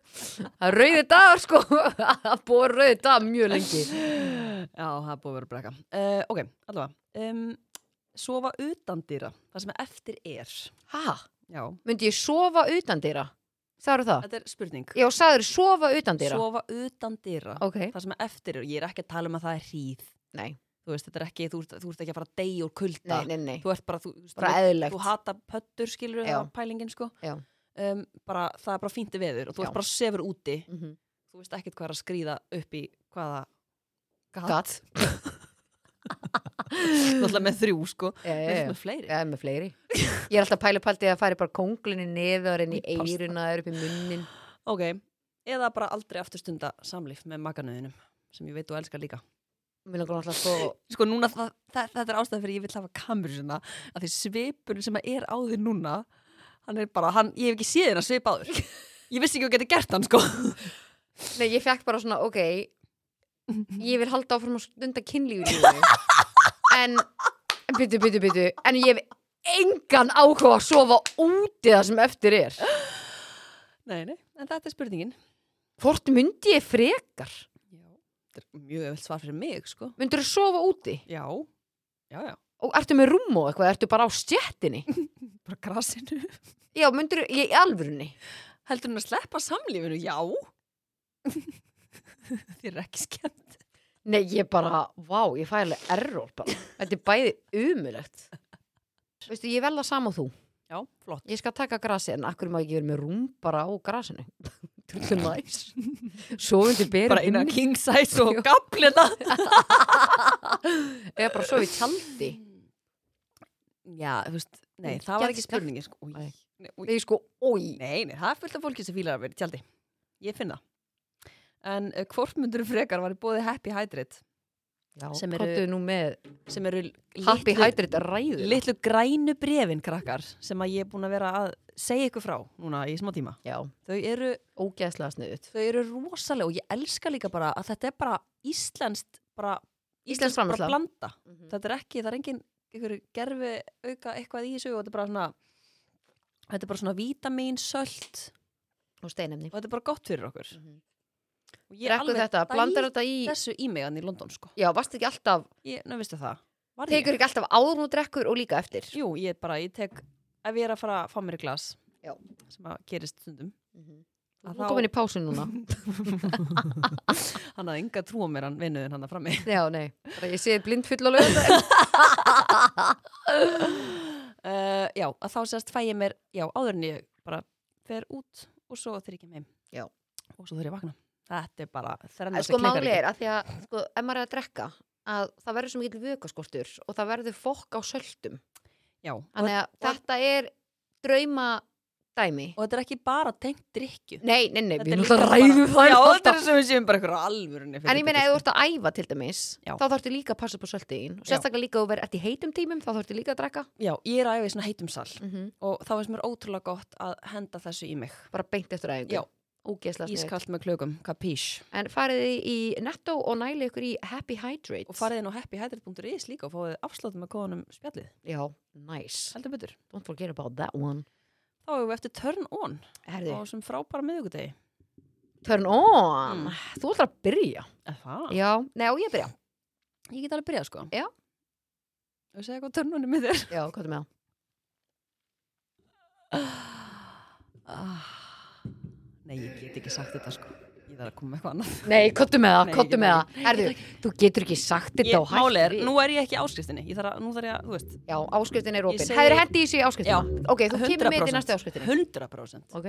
Speaker 4: er rauði dagar sko það er búið rauði dagar mjög lengi
Speaker 5: Já, það er búið að vera brekka. Uh, ok, allavega. Um, sofa utan dýra, það sem eftir er.
Speaker 4: ha,
Speaker 5: Já,
Speaker 4: myndi ég sofa utan dýra það eru það,
Speaker 5: þetta er spurning.
Speaker 4: já sagður sofa utan dýra
Speaker 5: Sofa utan dýra,
Speaker 4: ok,
Speaker 5: það sem eftir er. Ég er ekki að tala um að það er hríð.
Speaker 4: nei,
Speaker 5: Þú veist, þetta er ekki, þú ert, þú ert ekki að fara að deyja úr kulda.
Speaker 4: nei, nei, nei
Speaker 5: Þú ert bara, þú, þú,
Speaker 4: bara
Speaker 5: þú
Speaker 4: eðlilegt
Speaker 5: hata pöttur, skilur
Speaker 4: Já.
Speaker 5: það pælingin, sko.
Speaker 4: Já.
Speaker 5: Um, bara, það er bara fínti veður og
Speaker 4: Já.
Speaker 5: þú ert bara sefur úti.
Speaker 4: Mhm.
Speaker 5: Þú veist ekkert hvað er að skrýða upp í hvaða gat.
Speaker 4: Gat
Speaker 5: Náttúrulega með þrjú, sko.
Speaker 4: Já, já,
Speaker 5: Við
Speaker 4: já.
Speaker 5: erum með fleiri.
Speaker 4: Já, með fleiri Ég er alltaf að pæla paldið að færi bara konglinni neðar inn í
Speaker 5: Í pasta.
Speaker 4: eiruna, upp í munnin
Speaker 5: Ok, eða bara aldrei aftur stunda samlíf með makanöðinum sem ég veit þú elskar líka.
Speaker 4: Mér langar alltaf svo
Speaker 5: Sko núna, það, það, þetta er ástæðan fyrir ég vil hafa kameru svona að því svipurinn sem er á þér núna hann er bara, hann, ég hef ekki séð hennar svip áður. Ég vissi ekki að geta gert hann sko.
Speaker 4: Nei, ég fekk bara svona, ok Ég vil halda áfram að stunda kynlífi lífinu En, byttu, byttu, byttu En ég hef engan ákvað að sofa úti það sem eftir er
Speaker 5: Nei, nei, en þetta er spurningin.
Speaker 4: Hvort myndi ég frekar?
Speaker 5: Já. Þetta er mjög öll svar fyrir mig sko.
Speaker 4: Myndirðu sofa úti?
Speaker 5: Já, já, já.
Speaker 4: Og ertu með rúm og eitthvað? Ertu bara á stjettinni?
Speaker 5: Bara grasinu.
Speaker 4: Já, myndirðu, ég í alvörunni
Speaker 5: Heldur hann að sleppa samlífinu? Já. Þér er ekki skemmt.
Speaker 4: Nei, ég bara, vá, ég fæ alveg error bara. Þetta er bæði umulegt. Veistu, ég vel það sama og þú.
Speaker 5: Já, flott.
Speaker 4: Ég skal taka grasi, en akkur má ég ekki verið með rúm bara á grasinu. Þetta er næs. Sofandi berið.
Speaker 5: Bara eina king size og gablina.
Speaker 4: Eða bara sofa í tjaldi.
Speaker 5: Já, þú veist, nei, það var ekki
Speaker 4: Geðslegt.
Speaker 5: spurningin sko. Új,
Speaker 4: Nei.
Speaker 5: nei, új.
Speaker 4: Nei, sko, oi.
Speaker 5: nei, nei, það er fullt af fólki sem fílar að vera í tjaldi Ég finn það En uh, hvort myndur frekar var í bóði Happy Hydrate
Speaker 4: Já,
Speaker 5: Sem
Speaker 4: sem
Speaker 5: eru-
Speaker 4: eru... nú með
Speaker 5: sem eru
Speaker 4: Happy
Speaker 5: litlu,
Speaker 4: Hydrate ræður.
Speaker 5: litlu grænu brefin krakkar sem að ég er búin að vera að segja ykkur frá núna í smá tíma
Speaker 4: Já,
Speaker 5: Þau eru,
Speaker 4: ógeðslega sniðut.
Speaker 5: þau eru rosalega og ég elska líka bara að þetta er bara íslenskt bara,
Speaker 4: Íslensk
Speaker 5: bara
Speaker 4: framleiðsla.
Speaker 5: blanda Þetta er ekki, það er engin ykkur gerfi auka eitthvað í þessu og þetta er bara svona þetta er bara svona vítamín, sölt
Speaker 4: Og steinemni.
Speaker 5: og þetta er bara gott fyrir okkur
Speaker 4: Mhm.
Speaker 5: og ég
Speaker 4: Rekku þetta, blandar þetta í...
Speaker 5: þessu í mig hann í London sko
Speaker 4: Já, varst ekki alltaf,
Speaker 5: ég, nú veistu það Var ég?
Speaker 4: tekur ekki alltaf áður og drekkur og líka eftir.
Speaker 5: jú, ég bara, ég tek ef ég er að fara að fá mér í glas
Speaker 4: Já.
Speaker 5: sem að gerist stundum
Speaker 4: Þú
Speaker 5: að
Speaker 4: þá... komin í pásun núna.
Speaker 5: hann hafði enga trú á mér hann vinnuðin hann að frammi
Speaker 4: Já, nei, bara ég sé blind full á lögum
Speaker 5: uh, já, að þá sérst fæ ég mér já, áður en ég bara fer út og svo þegar ég kem heim
Speaker 4: Já.
Speaker 5: og svo þegar ég vakna þetta er bara þrennast
Speaker 4: Sko máli er að því að sko, ef maður er að drekka að það verður svo mikill vökaskortur og það verður fokk á söltum
Speaker 5: já, og,
Speaker 4: Þannig að
Speaker 5: og-
Speaker 4: þetta er drauma dæmi
Speaker 5: og þetta er ekki bara tengt drikju
Speaker 4: Nei, nei, nei,
Speaker 5: Þetta
Speaker 4: við
Speaker 5: er
Speaker 4: erum
Speaker 5: líka
Speaker 4: alltaf að ræðu
Speaker 5: bara-
Speaker 4: það
Speaker 5: Já, þetta
Speaker 4: alltaf.
Speaker 5: er sem við séum bara ykkur alvörunni
Speaker 4: En ég meina, ef þú ert að æfa til dæmis
Speaker 5: Já.
Speaker 4: þá þarftu líka að passa upp á söltiðin og
Speaker 5: Já.
Speaker 4: sérstaklega líka að þú verður eftir heitum tímum þá þarftu líka að drekka
Speaker 5: Já, ég er að æfa í svona heitum sal
Speaker 4: -hmm.
Speaker 5: og þá finnst mér ótrúlega gott að henda þessu í mig
Speaker 4: bara beint eftir æfingu
Speaker 5: Já.
Speaker 4: Ógeðslega sniðugt.
Speaker 5: Ískallt með klökum, kapísh
Speaker 4: En farið þið í Netto og næli ykkur í Happy Hydrates
Speaker 5: Og farið inn á happyhydrate.is líka og fáið afslátt með kóðanum spjallið
Speaker 4: Já, nice
Speaker 5: Heldur betur
Speaker 4: Don't forget about that one
Speaker 5: Þá hefur við eftir turn on
Speaker 4: Herði,
Speaker 5: á þessum frábæra miðugudegi
Speaker 4: Turn on!
Speaker 5: Mm.
Speaker 4: Þú ætlar að byrja.
Speaker 5: Það?
Speaker 4: Já, nei, á ég að byrja.
Speaker 5: Ég get alveg byrjað sko
Speaker 4: Já.
Speaker 5: Og segja hvað turn on er með þér
Speaker 4: Já, hvað er með það?
Speaker 5: Ah. Nei, ég get ekki sagt þetta sko Ég þarf að koma með eitthvað annað
Speaker 4: Nei, hvað er með það?
Speaker 5: Nei,
Speaker 4: Hvað
Speaker 5: ég
Speaker 4: er með
Speaker 5: get
Speaker 4: það? Herðu, þú getur ekki sagt þetta og
Speaker 5: Ég-
Speaker 4: hætt
Speaker 5: Málið er,
Speaker 4: við.
Speaker 5: nú er ég ekki í áskriftinni Ég þarf að, nú þarf ég að, þú veist
Speaker 4: Já, áskriftin er opinn.
Speaker 5: segi-
Speaker 4: Hefur hendi í sig í
Speaker 5: Já,
Speaker 4: áskriftina? Ok, þú kemur með þetta í næstu áskriftinni.
Speaker 5: 100%
Speaker 4: Ok.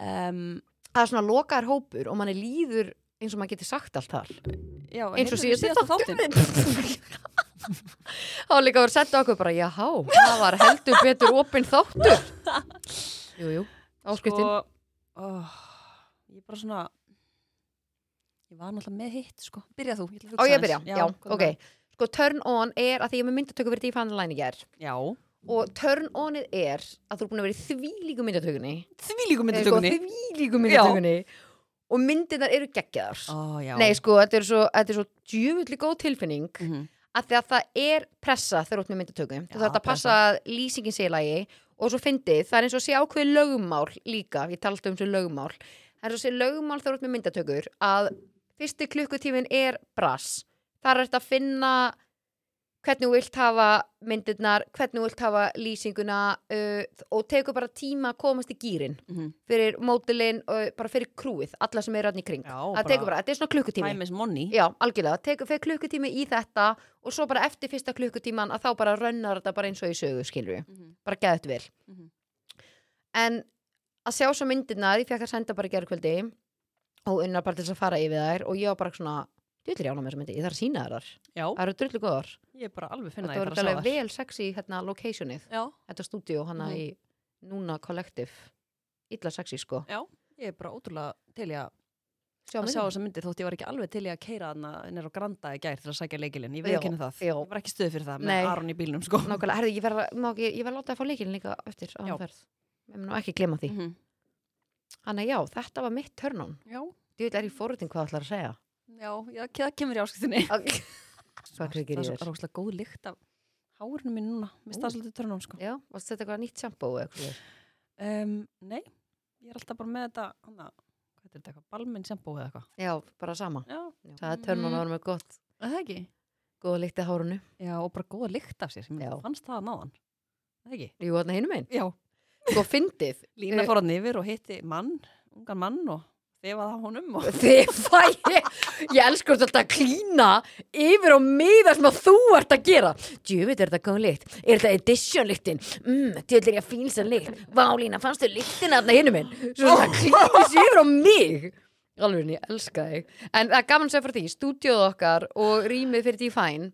Speaker 5: um,
Speaker 4: Það er svona lokaðar hópur og manni líður eins og maður getur sagt allt þar.
Speaker 5: já,
Speaker 4: Eins og
Speaker 5: heyrðu
Speaker 4: síðast
Speaker 5: síðasta þáttinn.
Speaker 4: Þá er líka voru sett okkur bara, jáhá, það var heldur betur opinn þáttur. Jú, jú, áskriftin.
Speaker 5: sko, oh, ég er bara svona ég var náttúrulega með hitt sko. byrja þú, ég ætla að
Speaker 4: Á
Speaker 5: hugsa
Speaker 4: ég að byrja,
Speaker 5: aðeins.
Speaker 4: já,
Speaker 5: hvað er
Speaker 4: ok. Sko, turn on er að því ég er með myndatöku verið í fannilæni gerð.
Speaker 5: það? já,
Speaker 4: og turn onið er að þú er búin að vera í þvílíku myndatökunni
Speaker 5: Því líku
Speaker 4: Eh, sko,
Speaker 5: myndatökunni.
Speaker 4: þvílíku myndatökunni og myndirnar eru geggjaðar
Speaker 5: Ó, já.
Speaker 4: nei sko, þetta er svo, þetta er svo djúvulli góð tilfinning
Speaker 5: Mhm.
Speaker 4: að því að það er pressa þegar þú ert með myndatöku þú
Speaker 5: Já,
Speaker 4: þarf að passa að lýsingin sé í lagi og svo fyndið, það er eins og sé ákveðið lögumál líka, ég tala alltaf um svo lögumál það er eins og sé lögumál þegar þú ert með myndatökur að fyrsti klukkutífin er brass, þar er þetta að finna hvernig þú vilt hafa myndirnar, hvernig þú vilt hafa lýsinguna uh, og tekur bara tíma að komast í gýrin
Speaker 5: Mhm.
Speaker 4: fyrir mótilinn og bara fyrir krúið alla sem eru hann í kring,
Speaker 5: Já,
Speaker 4: það
Speaker 5: bara-
Speaker 4: tekur bara, þetta er svona klukkutími
Speaker 5: Time is money.
Speaker 4: Já, algjörlega, tekur fyrir klukkutími í þetta og svo bara eftir fyrsta klukkutíman að þá bara rönnar þetta bara eins og í sögu skilur við,
Speaker 5: Mhm.
Speaker 4: bara geða þetta vel
Speaker 5: Mhm.
Speaker 4: en að sjá svo myndirnar, ég fekk að senda bara gerðkvöldi og unnar bara til þess að fara yfir þær og ég var bara svona dullir jána með þessar myndir, ég þarf að sína þær
Speaker 5: Já,
Speaker 4: það eru drullu góðar,
Speaker 5: ég er bara alveg finna
Speaker 4: þetta voru alveg vel sexy hérna locationið,
Speaker 5: Já,
Speaker 4: þetta stúdíu hana
Speaker 5: Mhm.
Speaker 4: í núna collective illa sexy sko
Speaker 5: já, ég er bara ótrúlega til í að
Speaker 4: sjá
Speaker 5: að sjá
Speaker 4: myndirnar
Speaker 5: þessa myndi þótt ég var ekki alveg til í að keira hana nýra á Granda í gær til að sækja leikilinn, ég
Speaker 4: Já,
Speaker 5: veið ekki henni það
Speaker 4: já.
Speaker 5: ég var ekki stöð fyrir það
Speaker 4: Nei.
Speaker 5: með Aron í bílnum sko
Speaker 4: Nákvæmlega, herðu, ég verð að, má ekki- ég verð að láta að fá leikinn líka eftir á hann
Speaker 5: Já.
Speaker 4: ferð. Ég mun nú ekki glema því.
Speaker 5: Mhm.
Speaker 4: Þannig að já, þetta var mitt törnun.
Speaker 5: já,
Speaker 4: Ég vil er í fórutin hvað ætlar að segja.
Speaker 5: já, já, það kemur í áskiptinni
Speaker 4: Hvað
Speaker 5: það
Speaker 4: krikir
Speaker 5: er
Speaker 4: ég
Speaker 5: svo
Speaker 4: þér?
Speaker 5: rákslega góð lykt af hárinu mín núna, mér
Speaker 4: Ú.
Speaker 5: staðs svolítið törnum sko
Speaker 4: Já, varst þetta eitthvað nýtt sjambó eða eitthvað? svoleiðis?
Speaker 5: um, nei, ég er alltaf bara með þetta hana, hvað er þetta eitthvað, balminn sjampó eða eitthvað
Speaker 4: Já, bara sama.
Speaker 5: já,
Speaker 4: Það er törnun að
Speaker 5: Mm.
Speaker 4: vera með gott,
Speaker 5: er það ekki?
Speaker 4: góða líktið hárunu.
Speaker 5: já, og bara góða lykt af sér, ég meina,
Speaker 4: Já.
Speaker 5: fannst það að náðan það ekki?
Speaker 4: Jú, þarna hinum minn.
Speaker 5: já,
Speaker 4: Sko, fyndið.
Speaker 5: Lína
Speaker 4: Eh,
Speaker 5: fór hann yfir og hitti mann, ungan mann og þefaði á honum og
Speaker 4: Þið fæ ég, ég elskur þetta að klína yfir og miða sem að þú ert að gera. Djúvit er þetta góð líkt, er þetta edition líktin? Mm, djúvit er ég að fílsa líkt. Vá Lína, fannstu líktin aðna hinnum minn? Svo þetta klínis yfir á mig. Alveg, ég elska þig. En það er gaman sér fyrir því, stúdíóð okkar og rýmið fyrir Define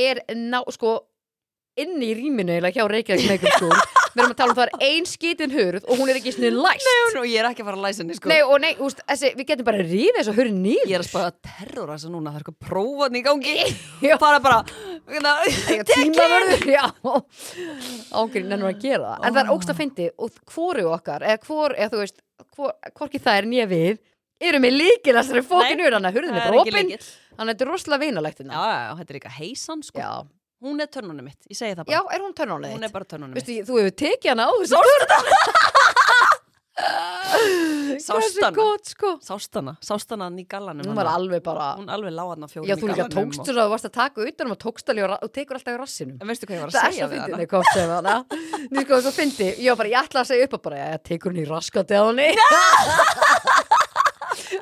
Speaker 4: er ná, sko, inn í rýminu eða hjá Reykjavík Maker School. Við erum að tala um það er ein skitin hurð og hún er ekki svona læst.
Speaker 5: og ég er ekki að fara að læsa henni sko
Speaker 4: Nei og nei, úst, þessi, við getum bara að rífa þess að hurri nýður
Speaker 5: Ég er að spara terror þess að núna, það er eitthvað prófan í gangi
Speaker 4: Já.
Speaker 5: og fara bara hérna,
Speaker 4: tímavörður Já, ángrín ennur að gera það En það er ógst að fyndi og hvori okkar eða hvor, eða þú veist, hvor, hvorki það er nýja við eru með líkilegst þessari fókin
Speaker 5: Nei,
Speaker 4: úr hann að hurðin
Speaker 5: Það
Speaker 4: er
Speaker 5: er ekki
Speaker 4: brópin
Speaker 5: leikill Já,
Speaker 4: Þannig að þetta er rosalega vinalegt
Speaker 5: já,
Speaker 4: hérna
Speaker 5: já, þetta er líka heisan sko
Speaker 4: Já.
Speaker 5: Hún er törnunum mitt, ég segi það
Speaker 4: Já,
Speaker 5: bara
Speaker 4: er hún törnónið
Speaker 5: Hún er bara törnunum mitt
Speaker 4: Veistu, ég- þú hefur tekið hana áður Sástu þetta
Speaker 5: Sástu
Speaker 4: Hversu
Speaker 5: hana?
Speaker 4: gott sko
Speaker 5: Sástana, sástana hann í gallanum
Speaker 4: Hún
Speaker 5: hana.
Speaker 4: var alveg bara
Speaker 5: Hún alveg lág hann á fjórum
Speaker 4: Já, þú líka
Speaker 5: gallanum
Speaker 4: tókst þess að þú varst að taka utanum og tókst alveg og ra- og tekur alltaf í rassinum
Speaker 5: En veistu hvað ég var
Speaker 4: Það
Speaker 5: að
Speaker 4: er
Speaker 5: segja
Speaker 4: svo
Speaker 5: við
Speaker 4: fyndið,
Speaker 5: hana?
Speaker 4: þau komst sem hana Nú sko, svo fyndið, ég var bara, ég ætla að segja upp og bara, ég tekur hún í raskati á henni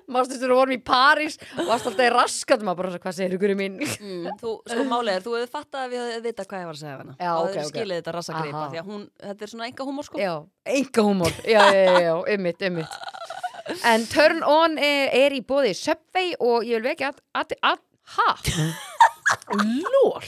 Speaker 4: Mástu þú vorum í París varst alltaf í raskati, maður bara, hvað segir ykkur mín
Speaker 5: Mm, þú, sko málið er, þú hefði fattað að við hefði vita hvað ég var að segja við hana
Speaker 4: Já,
Speaker 5: og
Speaker 4: ok, ok.
Speaker 5: skilið þetta rassagreipa
Speaker 4: Aha.
Speaker 5: því að hún, þetta er svona enga húmór sko
Speaker 4: Já, enga húmor Já, já, já, já, ummitt, ummitt En Turn On er, er í bóði Subway og ég vil vekja að, að, að ha Lól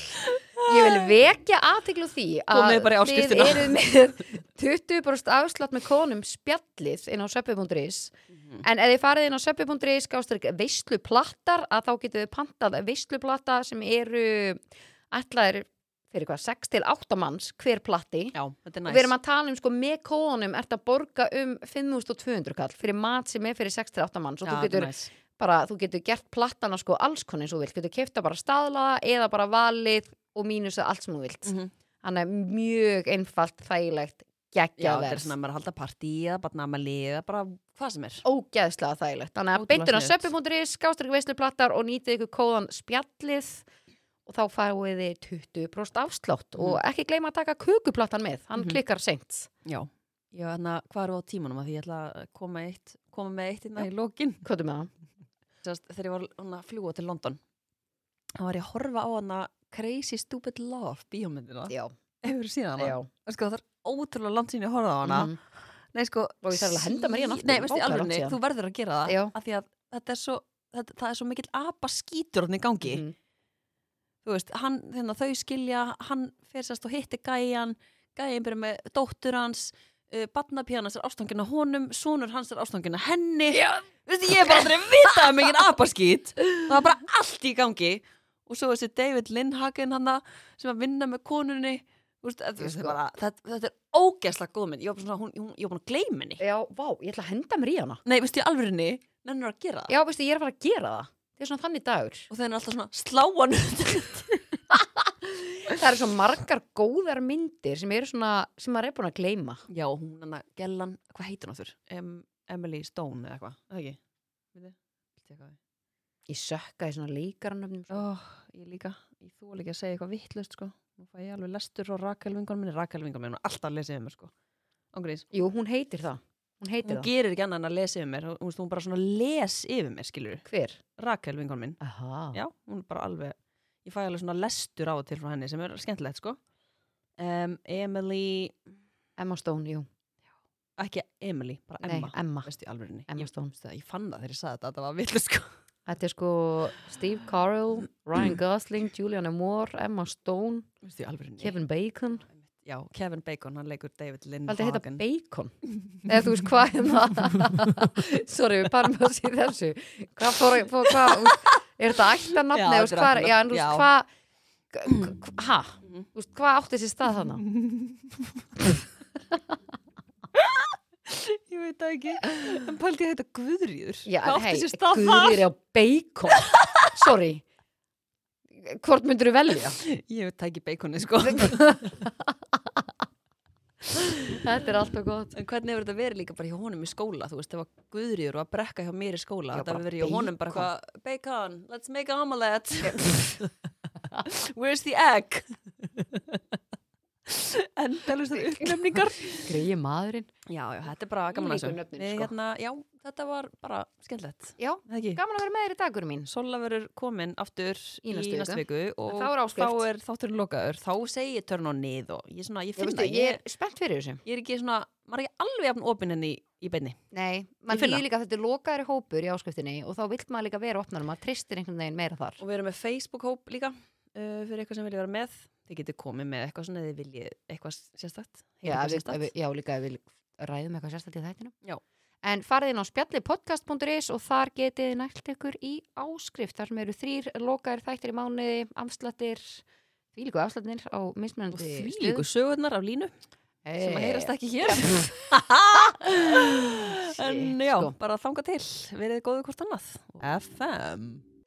Speaker 4: Ég vil vekja aðteglu því að
Speaker 5: Komið bara í
Speaker 4: þið
Speaker 5: áskriftina.
Speaker 4: eruð með 20% afslátt með konum spjallið inn á subway.is
Speaker 5: Mhm.
Speaker 4: en ef þið farið inn á subway.is gástrík veistluplattar að þá getur þið pantað veistluplata sem eru ætlaðir fyrir hvað, 6 til 8 manns hver platti
Speaker 5: Já, þetta er
Speaker 4: og
Speaker 5: næs
Speaker 4: við erum að tala um sko með kóðunum ert að borga um 5200 kall fyrir mat sem er fyrir 6-8 manns og
Speaker 5: Já,
Speaker 4: þú
Speaker 5: þetta er
Speaker 4: getur
Speaker 5: næs.
Speaker 4: bara, þú getur gert plattana sko alls konni eins og þú vilt, getur kefta bara staðlaða eða bara valið og mínusa allt sem þú vilt
Speaker 5: Mhm.
Speaker 4: þannig að mjög einfalt, þægilegt
Speaker 5: Já, þetta er
Speaker 4: geggjaverð,
Speaker 5: svona að maður er að halda partí eða bara namali eða bara hvað sem er.
Speaker 4: ógeðslega þægilegt þannig að
Speaker 5: Ótrúlega
Speaker 4: beintur á
Speaker 5: sniðugt.
Speaker 4: söpjum.is, skástrík veisluplattar og nýtið ykkur kóðan spjallið og þá fáið þið 20% afslátt og ekki gleyma að taka kukuplattan með, hann
Speaker 5: Mhm.
Speaker 4: klikkar seint
Speaker 5: Já. Já, þannig að hvað eru á tímanum að því ég ætla að koma, eitt, koma með eitt innan í lokin.
Speaker 4: Hvað er með það?
Speaker 5: Sest, þegar ég var hún að fljúa til London, þá var ég að horfa á hana Crazy Stupid Love bíómyndina.
Speaker 4: Já,
Speaker 5: Hefur þú síðan hana?
Speaker 4: já.
Speaker 5: Já. Sko, það er ótrúlega langt síðan ég horfði á hana.
Speaker 4: Mhm.
Speaker 5: Nei, sko.
Speaker 4: Og ég þarf alveg að henda mér í hana aftur.
Speaker 5: Nei, veist ég
Speaker 4: Ókei,
Speaker 5: alveg,
Speaker 4: langt síðan.
Speaker 5: þú verður að gera það.
Speaker 4: Já.
Speaker 5: Af því að þetta er svo, þetta, það er svo mikill apa skítur hann í gangi.
Speaker 4: Mhm.
Speaker 5: þú veist, hann, þeirna, þau skilja hann fer sérst og hitti gæjan gæjan byrja með dóttur hans uh, barnapíðan hans er ástangina honum sonur hans er ástangina henni Já. veist, ég er bara aldrei að vita um engin apaskýt það var bara allt í gangi og svo þessi David Lindhagen hann sem að vinna með konunni Úst, að,
Speaker 4: Ég
Speaker 5: sko.
Speaker 4: sko.
Speaker 5: bara, þetta, þetta er ógeðslega góð mynd Ég var bara svona, hún, hún, ég var búin að gleyma henni
Speaker 4: Já, vá, ég ætla að henda mér í hana
Speaker 5: Nei, veistu, í alvörinni, nennur að gera það
Speaker 4: Já, veistu, ég er að fara að gera það Það er svona þannig dagur
Speaker 5: Og þeir er alltaf svona sláan
Speaker 4: Það eru svo margar góðar myndir sem eru svona, sem maður er búin að gleyma
Speaker 5: Já, hún, hann að gellan, hvað heitir hún þurr? Em, Emily Stone eða eitthvað, eða ekki? Veitu, veitu eitthvað
Speaker 4: Ég sökka í svona líkaranöfnum
Speaker 5: Ó, ég líka, ég þú líka að segja eitthvað vittlust sko. Nú fæ ég alveg lestur og Rakel vingar minni, Rakel vingar minni, hún er alltaf að lesa yfir mér sko. Ángurins,
Speaker 4: Jú, hún heitir það Hún heitir
Speaker 5: hún
Speaker 4: það
Speaker 5: gerir ekki annað en að lesa yfir mér, hún, hún, hún bara svona les yfir mér, skilur.
Speaker 4: Hver?
Speaker 5: Rakel vingar minn,
Speaker 4: Aha
Speaker 5: já, hún er bara alveg, ég fæ alveg svona lestur á og til frá henni sem er skemmtilegt sko. Um, Emily,
Speaker 4: Emma Stone, jú
Speaker 5: ekki Emily, bara Emma,
Speaker 4: Nei, Emma
Speaker 5: veistu í alvörinni.
Speaker 4: Emma
Speaker 5: Ég,
Speaker 4: Stone
Speaker 5: ég fann það þegar ég sagði þetta, þetta var vittlust sko.
Speaker 4: Þetta er sko Steve Carell, Ryan Gosling, Julianne Moore, Emma Stone,
Speaker 5: Veistu í alvörinni.
Speaker 4: Kevin Bacon
Speaker 5: Já, Kevin Bacon, hann leikur David
Speaker 4: Valdi heita
Speaker 5: Lindhagen.
Speaker 4: Bacon eða þú veist hvað er það Sorry, við parum að sé þessu Hvað fór, fór hvað þú veist, Er þetta ætlanafni
Speaker 5: Já,
Speaker 4: eða þú veist
Speaker 5: þetta er
Speaker 4: hvað er- Já, en
Speaker 5: ættarnafn,
Speaker 4: þú
Speaker 5: já.
Speaker 4: veist hvað Hæ? Þú veist hvað átti sér stað þannig?
Speaker 5: Ég veit það ekki. En pældi ég að þetta Guðrýður.
Speaker 4: Já, en
Speaker 5: Hvað átti
Speaker 4: hei,
Speaker 5: sér stað
Speaker 4: guðir á bacon Sorry Hvort myndur þú velja?
Speaker 5: þar? Ég veit það ekki beikonni, sko.
Speaker 4: Þetta er alltaf gott
Speaker 5: En hvernig hefur þetta verið líka bara hjá honum í skóla, þú veist, það var Guðrýður og að brekka hjá mér í skóla.
Speaker 4: Já,
Speaker 5: þetta
Speaker 4: bara
Speaker 5: hefur verið hjá honum bara eitthvað, bacon, let's make an omelette. Where's the egg? Endalust af uppnefningar.
Speaker 4: Greiði maðurinn
Speaker 5: Já, já, þetta er bara gaman að
Speaker 4: Ólíku
Speaker 5: þessu.
Speaker 4: nöfnin,
Speaker 5: Við,
Speaker 4: sko.
Speaker 5: Hérna, já, þetta var bara skemmtilegt.
Speaker 4: Já,
Speaker 5: Það ekki?
Speaker 4: gaman að vera með þér í dagur mín
Speaker 5: Sola verður komin aftur
Speaker 4: Í
Speaker 5: í
Speaker 4: næstu
Speaker 5: næstu, viku og
Speaker 4: þá er áskrift.
Speaker 5: þá er þátturinn lokaður, þá segi ég törn og nið og ég, svona, ég
Speaker 4: Ég,
Speaker 5: finn
Speaker 4: veistu,
Speaker 5: það,
Speaker 4: ég
Speaker 5: ég,
Speaker 4: er spennt fyrir þessu
Speaker 5: ég er ekki svona, maður er ekki alveg jafn opinn henni í, í beinni.
Speaker 4: Nei, maður
Speaker 5: finn
Speaker 4: fyrir
Speaker 5: það.
Speaker 4: líka að þetta er lokaðri hópur í áskriftinni og þá vill maður líka vera opnar og maður tristir einhvern veginn meira þar
Speaker 5: Og við erum með Facebook-hóp líka uh, fyrir eitthvað sem vilja vera með, þið getur komið með eitthvað svona eða þið viljið eitthvað sérstakt.
Speaker 4: Já, ef við, ef
Speaker 5: eitthvað sérstakt.
Speaker 4: við, já líka ef við ræðum eitthvað sérstætt í þættinum
Speaker 5: Já.
Speaker 4: En farið inn á spjallipodcast.is og þar getið þið nælt ykkur í áskrift þar sem eru þrýr lokaðir þættir í mánuði afslættir, því líku afslættir á
Speaker 5: Og
Speaker 4: mismunandi
Speaker 5: því líku sögurnar af línu sem að heyrast ekki hér. en Eh, já, sko.
Speaker 4: sko.
Speaker 5: bara þanga til, verið góðu hvort annað. FM.